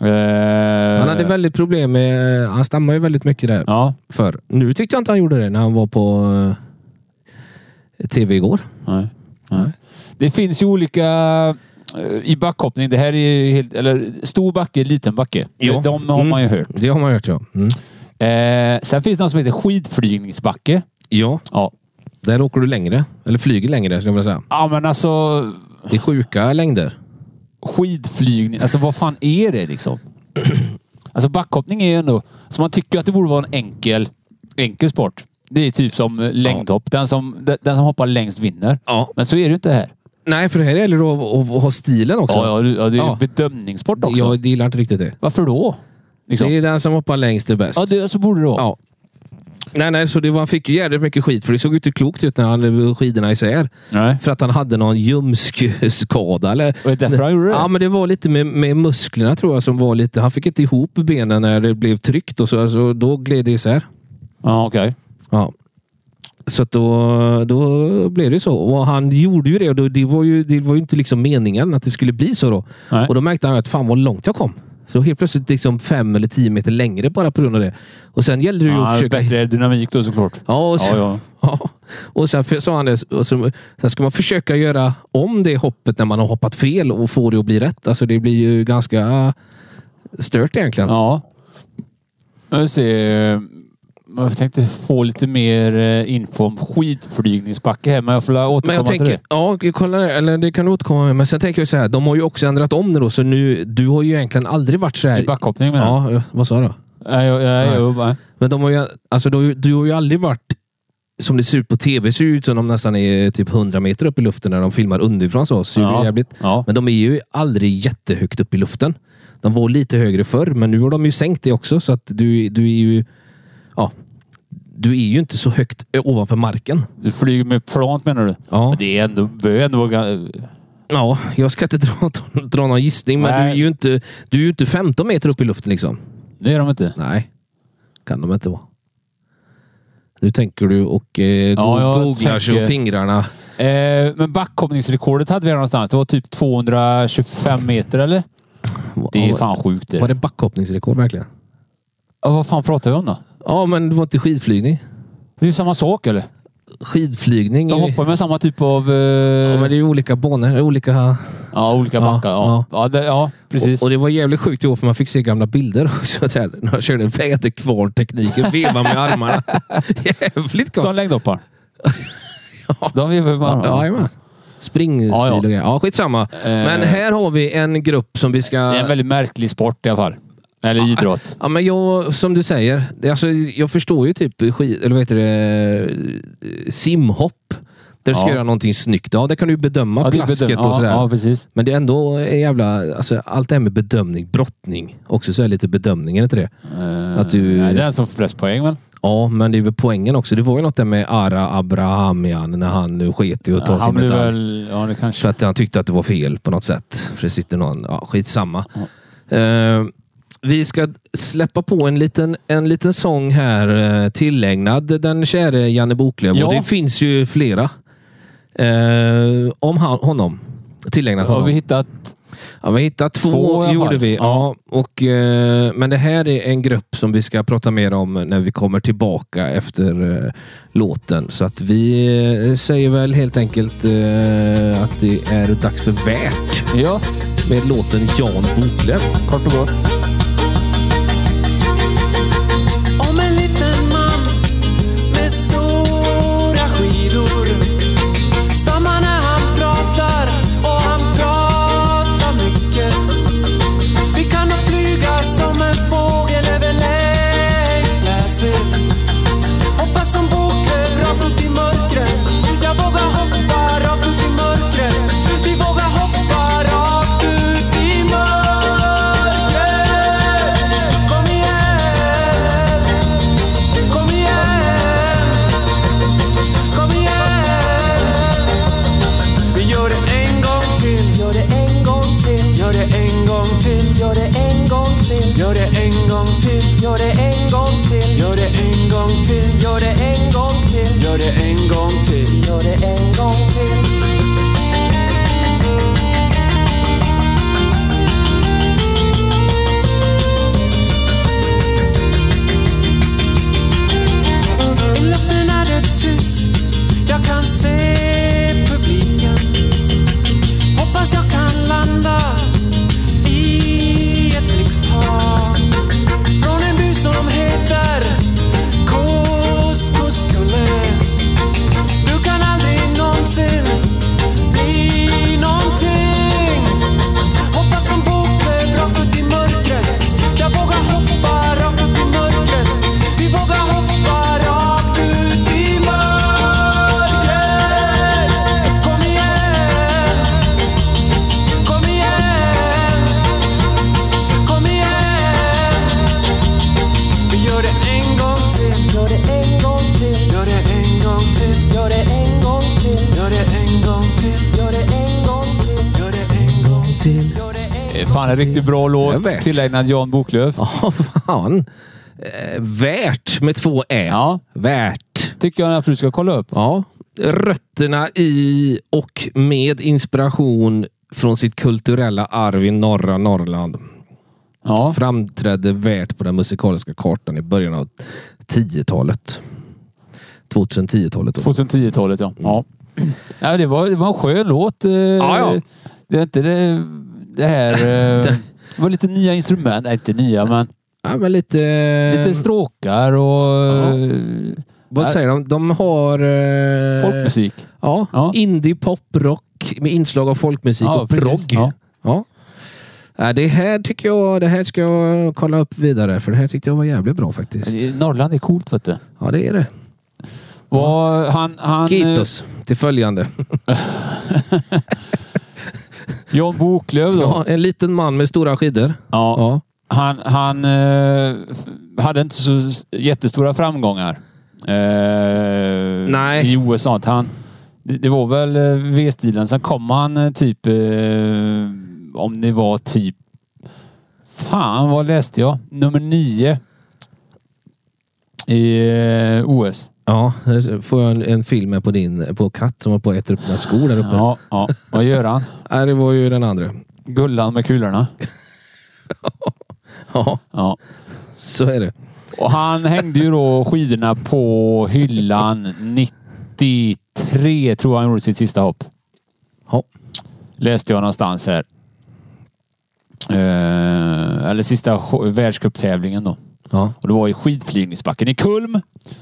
[SPEAKER 4] Eh,
[SPEAKER 3] Han hade väldigt problem med... eh, Han stammar ju väldigt mycket där
[SPEAKER 4] Ja.
[SPEAKER 3] förr. Nu tyckte jag inte han gjorde det när han var på eh, tv igår.
[SPEAKER 4] Nej. Nej. Det finns ju olika eh, i backhoppning. Det här är ju helt, eller stor backe, liten backe. Eh,
[SPEAKER 3] Ja.
[SPEAKER 4] De har
[SPEAKER 3] Mm.
[SPEAKER 4] man ju hört.
[SPEAKER 3] Det har man hört ja. Mm.
[SPEAKER 4] Eh, sen finns det något som heter skidflygningsbacke.
[SPEAKER 3] Ja,
[SPEAKER 4] Ja.
[SPEAKER 3] där åker du längre. Eller flyger längre, skulle jag vilja säga.
[SPEAKER 4] Ja, men alltså
[SPEAKER 3] Det är sjuka längder.
[SPEAKER 4] skidflygning. Alltså vad fan är det liksom? Alltså backhoppning är ju ändå... Så man tycker att det borde vara en enkel, enkel sport. Det är typ som eh, längdhopp. Den, som, den- den som hoppar längst vinner.
[SPEAKER 3] Ja.
[SPEAKER 4] Men så är det ju inte här.
[SPEAKER 3] Nej, för det här gäller det att, att, att ha stilen också.
[SPEAKER 4] Ja, ja, du- ja, det är ju
[SPEAKER 3] Ja.
[SPEAKER 4] bedömningssport också.
[SPEAKER 3] Jag gillar inte riktigt det.
[SPEAKER 4] Varför då? Liksom.
[SPEAKER 3] Det är den som hoppar längst är bäst.
[SPEAKER 4] Ja, det, så borde det vara.
[SPEAKER 3] Ja. Nej, nej, så det var, han fick ju jävligt mycket skit för det såg ju inte klokt ut när han hade skidorna isär.
[SPEAKER 4] Nej.
[SPEAKER 3] För att han hade någon ljumskskada. Eller...
[SPEAKER 4] Var det därför han gjorde det?
[SPEAKER 3] Ja, men det var lite med, med musklerna tror jag som var lite... Han fick inte ihop benen när det blev tryckt och så. så då gled det isär.
[SPEAKER 4] Ja, okej.
[SPEAKER 3] Ja. Så att då, då blev det så. Och han gjorde ju det och då, det var ju, det var ju inte liksom meningen att det skulle bli så då.
[SPEAKER 4] Nej.
[SPEAKER 3] Och då märkte han att fan vad långt jag kom. Så helt plötsligt liksom fem eller tio meter längre bara på grund av det. Och sen gällde det ju att
[SPEAKER 4] Ja,
[SPEAKER 3] försöka...
[SPEAKER 4] bättre dynamik då såklart.
[SPEAKER 3] Ja, och sen,
[SPEAKER 4] Ja, ja.
[SPEAKER 3] Ja. Och sen för- sa han det, och så, sen ska man försöka göra om det hoppet när man har hoppat fel och få det att bli rätt. Alltså det blir ju ganska stört egentligen.
[SPEAKER 4] Ja. Jag vill se. eh, Jag tänkte få lite mer eh, info om skidflygningsbacke här, men jag får la återkomma
[SPEAKER 3] Men jag
[SPEAKER 4] till
[SPEAKER 3] tänker,
[SPEAKER 4] det.
[SPEAKER 3] ja, kolla det, eller det kan du återkomma med. Men sen tänker jag så här, de har ju också ändrat om det då, så nu, du har ju egentligen aldrig varit så här...
[SPEAKER 4] I backhoppning menar
[SPEAKER 3] ja,
[SPEAKER 4] du?
[SPEAKER 3] ja, vad sa du?
[SPEAKER 4] Nej, jag- nej,
[SPEAKER 3] Nej.
[SPEAKER 4] jag- nej.
[SPEAKER 3] Men de har ju, alltså, du, har ju- du har ju aldrig varit, som det ser ut på tv, ser ju ut som de nästan är typ 100 meter upp i luften när de filmar underifrån. Så, ser
[SPEAKER 4] Ja.
[SPEAKER 3] det jävligt.
[SPEAKER 4] Ja.
[SPEAKER 3] Men de är ju aldrig jättehögt upp i luften. De var lite högre förr, men nu har de ju sänkt det också. Så att du, du är ju ja, du är ju inte så högt eh, ovanför marken.
[SPEAKER 4] Du flyger med plant menar du?
[SPEAKER 3] Ja,
[SPEAKER 4] Men det är ändå, bör ändå vara... gan-
[SPEAKER 3] ja jag ska inte dra, dra någon gissning, men du är,
[SPEAKER 4] Nej.
[SPEAKER 3] ju inte, du är ju inte 15 meter upp i luften. liksom.
[SPEAKER 4] Det är de inte.
[SPEAKER 3] Nej, kan de inte vara. Nu tänker du och eh,
[SPEAKER 4] Ja, jag
[SPEAKER 3] go- googlar
[SPEAKER 4] tänker-
[SPEAKER 3] så fingrarna.
[SPEAKER 4] Eh, men backhoppningsrekordet hade vi någonstans. Det var typ 225 meter eller? Det är fan sjukt det.
[SPEAKER 3] Var det backhoppningsrekord verkligen?
[SPEAKER 4] Ja, vad fan pratar vi om då?
[SPEAKER 3] Ja, men det var inte skidflygning.
[SPEAKER 4] Det är ju samma sak eller?
[SPEAKER 3] Skidflygning...
[SPEAKER 4] De
[SPEAKER 3] är-
[SPEAKER 4] hoppar med samma typ av... Eh,
[SPEAKER 3] Ja,
[SPEAKER 4] ja,
[SPEAKER 3] men det är ju olika banor, olika...
[SPEAKER 4] olika
[SPEAKER 3] Ja,
[SPEAKER 4] backar. Ja, ja. det, ja precis.
[SPEAKER 3] Och, och det var jävligt sjukt i år för man fick se gamla bilder också. Så här, när jag körde väderkvarn-tekniken, veva med armarna. jävligt gott.
[SPEAKER 4] Som längdhoppar.
[SPEAKER 3] Ja.
[SPEAKER 4] De är väl bara...
[SPEAKER 3] Ja, jajamän. Springstil
[SPEAKER 4] Ja, ja.
[SPEAKER 3] och grejer. Ja, skitsamma. Men här har vi en grupp som vi ska...
[SPEAKER 4] Det är en väldigt märklig sport i alla fall. Eller idrott.
[SPEAKER 3] Ja, men jag, som du säger, det- alltså, jag förstår ju typ skid, eller vad heter det, simhopp. Där du ska
[SPEAKER 4] Ja.
[SPEAKER 3] göra någonting snyggt. Ja, där kan du ju bedöma
[SPEAKER 4] Ja, det är
[SPEAKER 3] plasket
[SPEAKER 4] bedöm-
[SPEAKER 3] och sådär.
[SPEAKER 4] Ja, ja, precis.
[SPEAKER 3] Men det är ändå är jävla... Alltså, allt det här med bedömning, brottning. Också så här lite bedömning, är det inte det?
[SPEAKER 4] Eh,
[SPEAKER 3] Att du-
[SPEAKER 4] nej, det är den som får flest poäng väl?
[SPEAKER 3] Ja, men det är väl poängen också. Det var ju något där med Ara Abrahamian när han nu sket i att ta
[SPEAKER 4] Ja,
[SPEAKER 3] sin
[SPEAKER 4] han blir
[SPEAKER 3] medalj.
[SPEAKER 4] väl... Ja, det
[SPEAKER 3] För
[SPEAKER 4] kanske...
[SPEAKER 3] att han tyckte att det var fel på något sätt. För det sitter någon... Ja, skitsamma. Eh, vi ska släppa på en liten, en liten sång här eh, tillägnad den käre Janne Boklöv.
[SPEAKER 4] Ja.
[SPEAKER 3] Och det finns ju flera. Eh, om han, honom. Tillägnat
[SPEAKER 4] Har
[SPEAKER 3] honom.
[SPEAKER 4] vi hittat...
[SPEAKER 3] Ja, vi hittade två,
[SPEAKER 4] Två i alla
[SPEAKER 3] gjorde
[SPEAKER 4] fall.
[SPEAKER 3] vi. Ja. och, eh, men det här är en grupp som vi ska prata mer om när vi kommer tillbaka efter eh, låten. Så att vi eh, säger väl helt enkelt eh, att det är dags för Värt
[SPEAKER 4] Ja,
[SPEAKER 3] med låten Jan Boklöv.
[SPEAKER 4] kort och gott.
[SPEAKER 6] Om en liten man med stora skidor Stammar när han pratar och han pratar mycket Vi kan nog flyga som en fågel över längdläset Hoppa som boklöv rakt ut i mörkret Jag vågar hoppa rakt ut i mörkret Vi vågar hoppa rakt ut i mörkret Kom igen Kom igen Kom igen Vi gör det en gång till Gör det en gång till Gör det en gång till Gör det en gång till Gör det en gång till Gör det en gång till Gör det en gång till Gör det en gång till Gör det en gång till Gör det en gång till I luften är det tyst, jag kan se publiken. Hoppas jag kan landa i ett blixthav. Från en by som heter Koskuskulle. Du kan aldrig någonsin bli någonting. Hoppa som fågel rakt ut i mörkret Jag vågar hoppa rakt ut i mörkret Vi vågar hoppa rakt ut i mörkret Kom igen Kom igen Kom igen Vi gör det en gång till Gör det en gång till Gör det en gång till Gör det en gång till Gör det en gång till Gör det en gång till Gör det en gång till Gör det en
[SPEAKER 4] Eh, Fan, en riktigt bra
[SPEAKER 3] Jag
[SPEAKER 4] låt
[SPEAKER 3] vet.
[SPEAKER 4] tillägnad Jan Boklöf.
[SPEAKER 3] Ja, fan. Eh, värt med två ä.
[SPEAKER 4] Ja.
[SPEAKER 3] Värt.
[SPEAKER 4] Tycker jag att du ska kolla upp.
[SPEAKER 3] Ja. Rötterna i och med inspiration från sitt kulturella arv i norra Norrland.
[SPEAKER 4] Ja.
[SPEAKER 3] Framträdde värt på den musikaliska kartan i början av 10-talet. 2010-talet. då.
[SPEAKER 4] 2010-talet ja. ja. ja det, var, det var en skön låt. eh,
[SPEAKER 3] ja.
[SPEAKER 4] Det är inte det, det här... eh, Det var lite nya instrument. Nej, inte nya men
[SPEAKER 3] Ja, men lite... Ehm, eh,
[SPEAKER 4] lite stråkar och eh,
[SPEAKER 3] Vad säger de? De har... eh,
[SPEAKER 4] folkmusik.
[SPEAKER 3] Ja,
[SPEAKER 4] Ja.
[SPEAKER 3] indie, pop, rock med inslag av folkmusik
[SPEAKER 4] Ja,
[SPEAKER 3] och
[SPEAKER 4] precis.
[SPEAKER 3] progg.
[SPEAKER 4] Ja.
[SPEAKER 3] Ja. Ja, Det här tycker jag, det här ska jag kolla upp vidare för det här tyckte jag var jävligt bra faktiskt.
[SPEAKER 4] Norrland är coolt vet du.
[SPEAKER 3] Ja, det är det.
[SPEAKER 4] Var, han, han, eh,
[SPEAKER 3] Gitos till följande.
[SPEAKER 4] Jan Boklöv då.
[SPEAKER 3] Ja, en liten man med stora skidor.
[SPEAKER 4] Ja.
[SPEAKER 3] Ja.
[SPEAKER 4] Han, han eh, f- hade inte så s- jättestora framgångar eh,
[SPEAKER 3] Nej.
[SPEAKER 4] i OS. och Sånt. Han, det det var väl eh, V-stilen. Sen kom han eh, typ, eh, om det var typ, fan vad läste jag? Nummer nio i eh, OS.
[SPEAKER 3] Ja, här får jag en, en film här på din, på katt som var på att äta upp mina skor där uppe. Ja.
[SPEAKER 4] Ja, ja. Vad gör han?
[SPEAKER 3] det var ju den andra.
[SPEAKER 4] Gullan med kulorna.
[SPEAKER 3] Ja,
[SPEAKER 4] Ja.
[SPEAKER 3] så är det.
[SPEAKER 4] Och han hängde ju då skidorna på hyllan 93 tror jag han gjorde sitt sista hopp.
[SPEAKER 3] Ja.
[SPEAKER 4] Läste jag någonstans här. Eh, eller sista sj- världscuptävlingen då.
[SPEAKER 3] Ja.
[SPEAKER 4] Och det var i skidflygningsbacken i Kulm.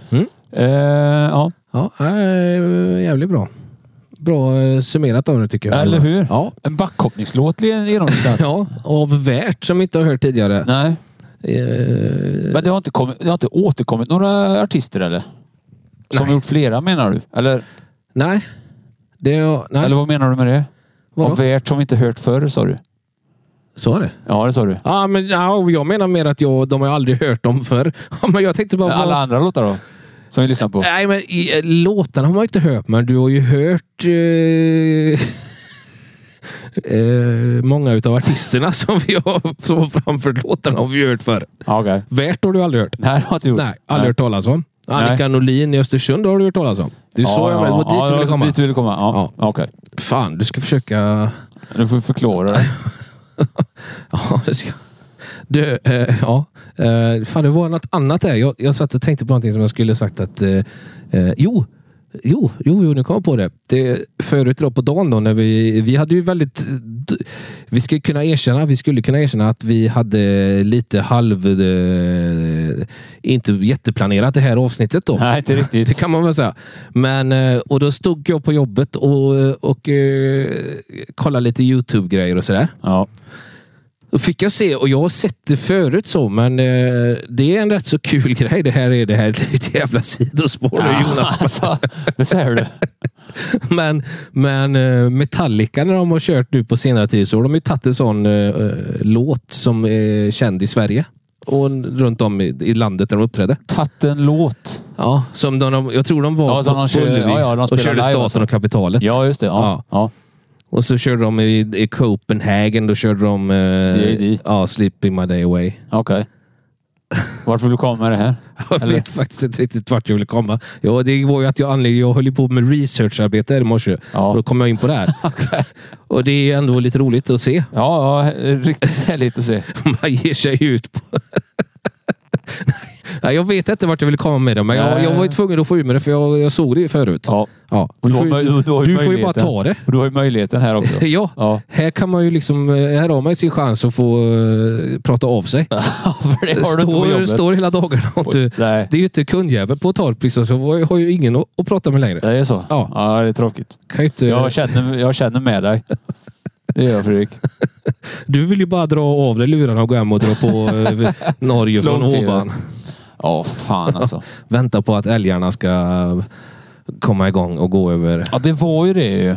[SPEAKER 3] Mm.
[SPEAKER 4] Eh, ja.
[SPEAKER 3] Ja, äh, jävligt bra. Bra eh, summerat av det tycker jag.
[SPEAKER 4] Eller
[SPEAKER 3] Jonas.
[SPEAKER 4] hur?
[SPEAKER 3] Ja.
[SPEAKER 4] En backhoppningslåt le- genomlyssnat.
[SPEAKER 3] Ja, av värt som vi inte har hört tidigare.
[SPEAKER 4] Nej.
[SPEAKER 3] Eh,
[SPEAKER 4] Men det har, inte kommit, det har inte återkommit några artister eller? Som gjort flera menar du? Eller,
[SPEAKER 3] nej. Det är, nej.
[SPEAKER 4] eller vad menar du med det?
[SPEAKER 3] Hm? Vadå?
[SPEAKER 4] Av värt som vi inte hört förr sa du?
[SPEAKER 3] Så är det.
[SPEAKER 4] Ja, det sa du.
[SPEAKER 3] Ja, men ja, jag menar mer att jag, de har ju aldrig hört dem förr. Ja, men jag tänkte bara... vad-
[SPEAKER 4] Alla andra låtar då? Som vi lyssnar på?
[SPEAKER 3] Nej, men i, eh, låtarna har man inte hört, men du har ju hört eh, eh, många utav artisterna som, vi har, som har framfört låtarna har vi ju hört förr.
[SPEAKER 4] Ja, okej.
[SPEAKER 3] Värt har du aldrig hört.
[SPEAKER 4] Det här har jag inte gjort.
[SPEAKER 3] Nej, aldrig hört talas om. Annika Norlin i Östersund har du hört talas om. Det är så jag menar. Det var dit
[SPEAKER 4] ja,
[SPEAKER 3] du ville
[SPEAKER 4] det var
[SPEAKER 3] komma.
[SPEAKER 4] Dit du ville komma. Ja. Okej.
[SPEAKER 3] Fan, du ska försöka...
[SPEAKER 4] Nu får vi förklara det.
[SPEAKER 3] Ja, det ska... Du, eh, ja. Eh, fan, det var något annat där. Jag, jag satt och tänkte på någonting som jag skulle sagt att... Eh, eh, jo, jo, jo, jo, nu kom jag på det. det. Förut då på dagen då, när vi, vi hade ju väldigt... d- Vi skulle kunna erkänna, vi skulle kunna erkänna att vi hade lite halv... Eh, inte jätteplanerat det här avsnittet då.
[SPEAKER 4] Nej, inte riktigt.
[SPEAKER 3] Det kan man väl säga. Men, eh, och då stod jag på jobbet och, och eh, kollade lite YouTube-grejer och sådär.
[SPEAKER 4] Ja.
[SPEAKER 3] Då fick jag se, och jag har sett det förut så, men eh, det är en rätt så kul grej. Det här är det här det är ett jävla sidospår nu Jonas.
[SPEAKER 4] alltså, det ser du.
[SPEAKER 3] Men, men eh, Metallica när de har kört nu på senare tid så har de ju tagit en sån eh, låt som är känd i Sverige. Och runt om i, i landet där de uppträdde.
[SPEAKER 4] Tatt en låt.
[SPEAKER 3] Ja, som de- de, jag tror de var
[SPEAKER 4] Ja, som
[SPEAKER 3] på,
[SPEAKER 4] de kör-
[SPEAKER 3] på Ullevi
[SPEAKER 4] ja, ja, de
[SPEAKER 3] och
[SPEAKER 4] spelar
[SPEAKER 3] körde
[SPEAKER 4] live
[SPEAKER 3] Staten
[SPEAKER 4] alltså.
[SPEAKER 3] och Kapitalet.
[SPEAKER 4] Ja, just det. Ja. ja.
[SPEAKER 3] Och så körde de i, i Copenhagen. Då körde de
[SPEAKER 4] D.A.D..
[SPEAKER 3] eh, ja, Sleeping My Day Away.
[SPEAKER 4] Okej. Vart vill du komma med det här?
[SPEAKER 3] Jag
[SPEAKER 4] Eller?
[SPEAKER 3] vet faktiskt inte riktigt vart jag ville komma. Ja, det var ju att jag, anledde, jag höll ju på med researcharbete här i morse.
[SPEAKER 4] Ja.
[SPEAKER 3] Och då kom jag in på det här. Och det är ändå lite roligt att se.
[SPEAKER 4] Ja, ja riktigt härligt att se.
[SPEAKER 3] Man ger sig ut på... Nej, jag vet inte vart jag ville komma med det, men jag,
[SPEAKER 4] Nej.
[SPEAKER 3] jag var ju tvungen att få ur med det för jag, jag såg det ju förut.
[SPEAKER 4] Ja.
[SPEAKER 3] Ja.
[SPEAKER 4] Och
[SPEAKER 3] Du,
[SPEAKER 4] har
[SPEAKER 3] får
[SPEAKER 4] möj-
[SPEAKER 3] ju,
[SPEAKER 4] du har
[SPEAKER 3] du får ju bara
[SPEAKER 4] möjligheten.
[SPEAKER 3] ta det.
[SPEAKER 4] Och Du har ju möjligheten här också.
[SPEAKER 3] Ja.
[SPEAKER 4] Ja.
[SPEAKER 3] här kan man ju liksom... Här har man ju sin chans att få eh, prata av sig.
[SPEAKER 4] För det har du inte på
[SPEAKER 3] står,
[SPEAKER 4] jobbet.
[SPEAKER 3] står hela dagarna och du,
[SPEAKER 4] Nej.
[SPEAKER 3] Det är ju inte kundjävel på Torp liksom, så jag har ju ingen att, att prata med längre.
[SPEAKER 4] Det är så?
[SPEAKER 3] Ja.
[SPEAKER 4] ja det är tråkigt.
[SPEAKER 3] Kan ju inte,
[SPEAKER 4] Jag känner, jag känner med dig. Det gör jag Fredrik.
[SPEAKER 3] Du vill ju bara dra av dig lurarna och gå hem och dra på eh, Norge
[SPEAKER 4] Slå
[SPEAKER 3] från
[SPEAKER 4] till.
[SPEAKER 3] ovan.
[SPEAKER 4] Ja, fan alltså.
[SPEAKER 3] Vänta på att älgarna ska komma igång och gå över.
[SPEAKER 4] Ja, det var ju det ju.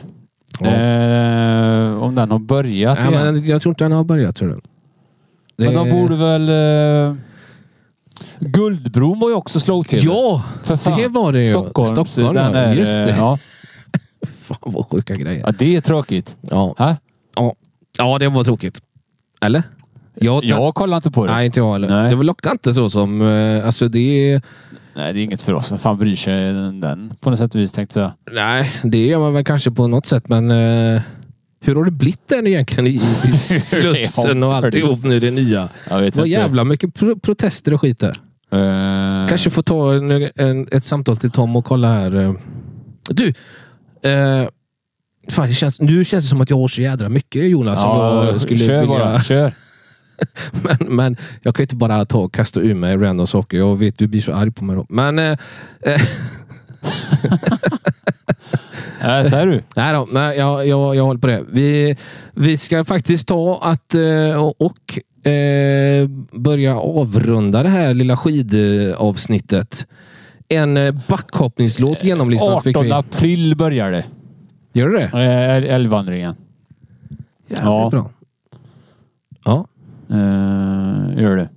[SPEAKER 3] Ja.
[SPEAKER 4] Eh, om den har börjat
[SPEAKER 3] Nej,
[SPEAKER 4] igen. Men,
[SPEAKER 3] men jag tror inte den har börjat. Tror du. Det-
[SPEAKER 4] de borde väl... Eh, Guldbron var ju också slowtv.
[SPEAKER 3] Ja!
[SPEAKER 4] För fan.
[SPEAKER 3] det var det ju.
[SPEAKER 4] Stockholms,
[SPEAKER 3] Stockholm,
[SPEAKER 4] den
[SPEAKER 3] ja.
[SPEAKER 4] är, eh,
[SPEAKER 3] Just det.
[SPEAKER 4] Ja.
[SPEAKER 3] Fan vad sjuka grejer.
[SPEAKER 4] ja, det är tråkigt.
[SPEAKER 3] Ja.
[SPEAKER 4] Ha?
[SPEAKER 3] Ja. ja, det var tråkigt. Eller? Jag,
[SPEAKER 4] Jag kollar inte på det.
[SPEAKER 3] Nej, inte jag heller.
[SPEAKER 4] Nej.
[SPEAKER 3] Det var lockar inte så som... eh, Alltså det är...
[SPEAKER 4] Nej, det är inget för oss. Vem fan bryr sig den på något sätt och vis tänkte jag.
[SPEAKER 3] Nej, det gör man väl kanske på något sätt, men eh, Hur har det blivit den egentligen i, i Slussen och alltihop nu, det nya?
[SPEAKER 4] Jag vet
[SPEAKER 3] Vad
[SPEAKER 4] inte.
[SPEAKER 3] jävla mycket pro protester och skit där.
[SPEAKER 4] Eh,
[SPEAKER 3] Kanske får ta en, en, ett samtal till Tom och kolla här. eh. Du! Eh, fan, det känns, nu känns det som att jag har så jädra mycket Jonas. som
[SPEAKER 4] ja,
[SPEAKER 3] jag skulle
[SPEAKER 4] kör
[SPEAKER 3] vilja,
[SPEAKER 4] bara. Kör.
[SPEAKER 3] Men, men jag kan ju inte bara ta och kasta ur mig random saker. Jag vet, du blir så arg på mig då. Men, eh, eh,
[SPEAKER 4] Äh, så här du.
[SPEAKER 3] nej då, nej, jag, jag, jag håller på det. Vi, vi ska faktiskt ta att eh, och eh, börja avrunda det här lilla skidavsnittet. En eh, backhoppningslåt genomlistad fick
[SPEAKER 4] 18
[SPEAKER 3] vi.
[SPEAKER 4] april börjar det.
[SPEAKER 3] Gör det det?
[SPEAKER 4] Eh, äl- Älgvandringen.
[SPEAKER 3] Ja. Bra. Ja,
[SPEAKER 4] Eh, gör det.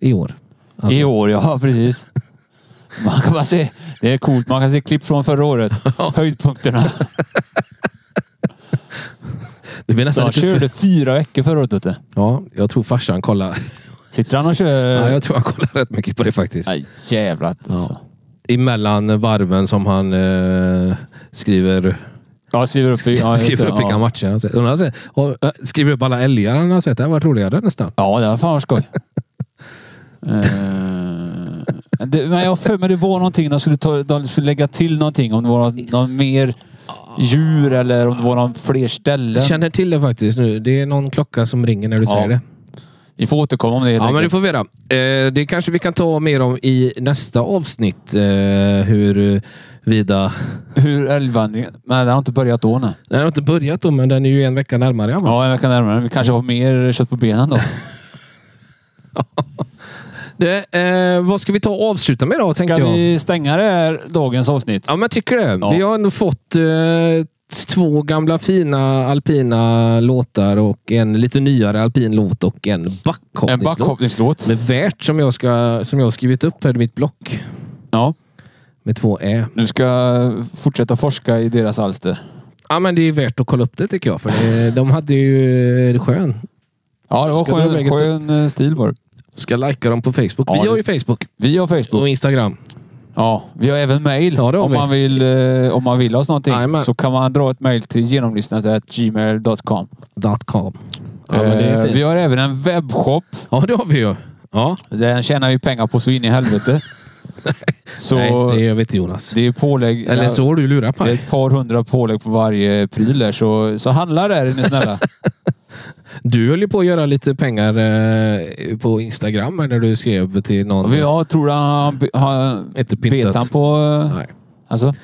[SPEAKER 3] i år. Alltså.
[SPEAKER 4] I år, ja precis. Man kan bara se. Det är coolt. Man kan se klipp från förra året. Höjdpunkterna.
[SPEAKER 3] Det blir nästan
[SPEAKER 4] De
[SPEAKER 3] lite för...
[SPEAKER 4] körde fyra veckor förra året. vet du.
[SPEAKER 3] Ja, jag tror farsan kollar.
[SPEAKER 4] Sitter han och
[SPEAKER 3] Ja,
[SPEAKER 4] kör?
[SPEAKER 3] jag tror han kollar rätt mycket på det faktiskt.
[SPEAKER 4] Nej, jävlar alltså.
[SPEAKER 3] Emellan varven som han eh, skriver,
[SPEAKER 4] Ja, skriver upp, i- ja, just
[SPEAKER 3] skriver
[SPEAKER 4] det,
[SPEAKER 3] upp vilka
[SPEAKER 4] ja.
[SPEAKER 3] matcher han har sett. Undrar han ser- och, eh, skriver upp alla älgar han har sett. Det här var roligare nästan.
[SPEAKER 4] Ja, det var fan vad skoj. Eh, det, men jag har för mig det var någonting. De skulle, ta, de skulle lägga till någonting. Om det var någon, någon mer djur eller om det var någon fler ställen.
[SPEAKER 3] Jag känner till det faktiskt nu. Det är någon klocka som ringer när du
[SPEAKER 4] Ja,
[SPEAKER 3] säger det.
[SPEAKER 4] Vi får återkomma om det. helt
[SPEAKER 3] Ja, men det
[SPEAKER 4] enkelt.
[SPEAKER 3] får vi göra. Eh, det kanske vi kan ta mer om i nästa avsnitt. Eh, hur eh, vida...
[SPEAKER 4] Hur älgvandringen... Men den har inte börjat då nej.
[SPEAKER 3] Den har inte börjat då, men den är ju en vecka närmare. Ja, va?
[SPEAKER 4] Ja, en vecka närmare. Vi kanske har mer kött på benen då.
[SPEAKER 3] Det, eh, vad ska vi ta och avsluta med då, tänkte
[SPEAKER 4] Ska
[SPEAKER 3] jag.
[SPEAKER 4] vi stänga det här dagens avsnitt?
[SPEAKER 3] Ja, men jag tycker det.
[SPEAKER 4] Ja.
[SPEAKER 3] Vi har ändå fått eh, två gamla fina alpina låtar och en lite nyare alpin låt och en
[SPEAKER 4] En
[SPEAKER 3] backhoppningslåt.
[SPEAKER 4] backhoppningslåt.
[SPEAKER 3] Med värt som jag, ska, som jag har skrivit upp här i mitt block.
[SPEAKER 4] Ja.
[SPEAKER 3] Med två ä.
[SPEAKER 4] Nu ska jag fortsätta forska i deras alster.
[SPEAKER 3] Ja, men det är värt att kolla upp det tycker jag. För det, de hade ju eh, skön.
[SPEAKER 4] Ja, det var
[SPEAKER 3] Ska du
[SPEAKER 4] skön,
[SPEAKER 3] lägga till-
[SPEAKER 4] skön eh, stil var det.
[SPEAKER 3] Ska lajka dem på Facebook.
[SPEAKER 4] Ja,
[SPEAKER 3] vi har
[SPEAKER 4] det-
[SPEAKER 3] ju Facebook
[SPEAKER 4] Vi har Facebook.
[SPEAKER 3] och Instagram.
[SPEAKER 4] Ja, vi har även mail.
[SPEAKER 3] Ja, det har
[SPEAKER 4] om,
[SPEAKER 3] vi.
[SPEAKER 4] Man vill, eh, om man vill ha oss någonting
[SPEAKER 3] Jajamän.
[SPEAKER 4] så kan man dra ett mail till genomlyssnat.gmail.com.
[SPEAKER 3] .com. Ja, men det är fint.
[SPEAKER 4] Eh, vi har även en webbshop.
[SPEAKER 3] Eh, ja, det har vi ju. Ja.
[SPEAKER 4] Den tjänar vi pengar på så in i helvete. så
[SPEAKER 3] Nej, det
[SPEAKER 4] det, är...
[SPEAKER 3] gör vi inte Jonas.
[SPEAKER 4] pålägg.
[SPEAKER 3] Eller
[SPEAKER 4] ja,
[SPEAKER 3] så har du lurat
[SPEAKER 4] Det är
[SPEAKER 3] mig.
[SPEAKER 4] ett par hundra pålägg på varje pryl där, så, så handla där är ni snälla.
[SPEAKER 3] Du höll ju på att göra lite pengar eh, på Instagram här när du skrev till någon.
[SPEAKER 4] Vi har, tror du han, han
[SPEAKER 3] Inte
[SPEAKER 4] bet
[SPEAKER 3] pintat.
[SPEAKER 4] han på... eh,
[SPEAKER 3] Nej,
[SPEAKER 4] Alltså,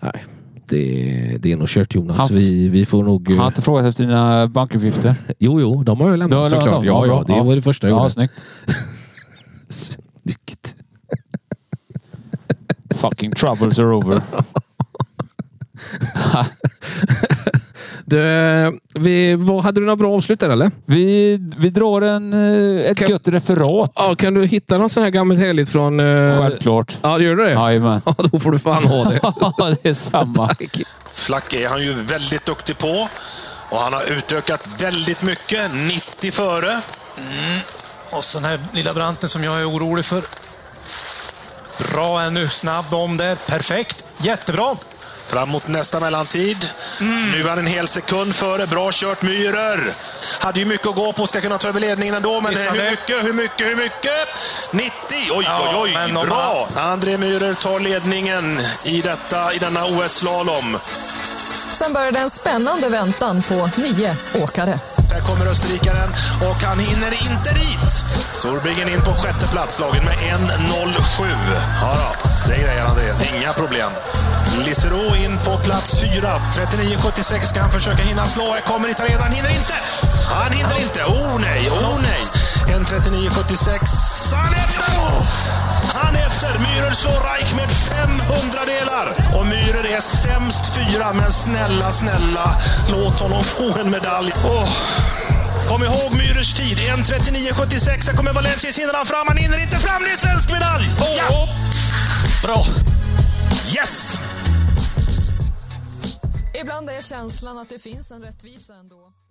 [SPEAKER 3] nej. Det, det är nog kört Jonas.
[SPEAKER 4] Han-
[SPEAKER 3] vi, vi får nog... eh,
[SPEAKER 4] han har inte frågat efter dina bankuppgifter.
[SPEAKER 3] Jo, jo, de har jag
[SPEAKER 4] Du har
[SPEAKER 3] lämnat
[SPEAKER 4] lämnat
[SPEAKER 3] såklart.
[SPEAKER 4] dem?
[SPEAKER 3] Ja,
[SPEAKER 4] Ja,
[SPEAKER 3] ja, det
[SPEAKER 4] ja.
[SPEAKER 3] var det första jag
[SPEAKER 4] Ja,
[SPEAKER 3] gjorde.
[SPEAKER 4] snyggt.
[SPEAKER 3] Snyggt.
[SPEAKER 4] Fucking troubles are over.
[SPEAKER 3] Du, eh, vi, vad, hade du några bra avslut där eller?
[SPEAKER 4] Vi, vi drar en, eh, ett
[SPEAKER 3] Kan-
[SPEAKER 4] gött referat.
[SPEAKER 3] Ja, kan du hitta något sånt här gammalt heligt från... eh,
[SPEAKER 4] Självklart.
[SPEAKER 3] Ja, gör du det?
[SPEAKER 4] Jajamän.
[SPEAKER 3] Ja, då får du fan ha det.
[SPEAKER 4] Ja, det är samma.
[SPEAKER 7] Flack är han ju väldigt duktig på. Och han har utökat väldigt mycket. 90 före.
[SPEAKER 8] Och så den här lilla branten som jag är orolig för. Bra ännu. Snabb om där. Perfekt. Jättebra.
[SPEAKER 7] Fram mot nästa mellantid.
[SPEAKER 8] Mm.
[SPEAKER 7] Nu är han en hel sekund före. Bra kört Myhrer. Hade ju mycket att gå på. Ska kunna ta över ledningen ändå. Men
[SPEAKER 8] Visst hade.
[SPEAKER 7] hur mycket, hur mycket, hur mycket? 90! Oj,
[SPEAKER 8] Ja,
[SPEAKER 7] oj,
[SPEAKER 8] men
[SPEAKER 7] oj.
[SPEAKER 8] om
[SPEAKER 7] Bra! André Myhrer tar ledningen i, detta, i denna OS-slalom.
[SPEAKER 9] Sen började en spännande väntan på nio åkare.
[SPEAKER 7] Där kommer österrikaren och han hinner inte dit. Solbringen in på sjätte plats, slagen med 1.07. Ja, då, det grejer han det. Inga problem. Liserow in på plats fyra. 39.76 ska han försöka hinna slå. Här kommer italienaren. Han hinner inte! Han hinner inte. Oh nej, oh nej. 1.39.76. Han är efter! Han är efter! Myhrer slår Reich med 500 delar. Och Myhrer är sämst fyra, men snälla, snälla, låt honom få en medalj. Åh. Kom ihåg Myhrers tid, 1.39.76. Här kommer Valencius, hinner han fram? Han hinner inte fram, det är svensk medalj! Ja!
[SPEAKER 8] Bra.
[SPEAKER 7] Yes!
[SPEAKER 9] Ibland är känslan att det finns en rättvisa ändå.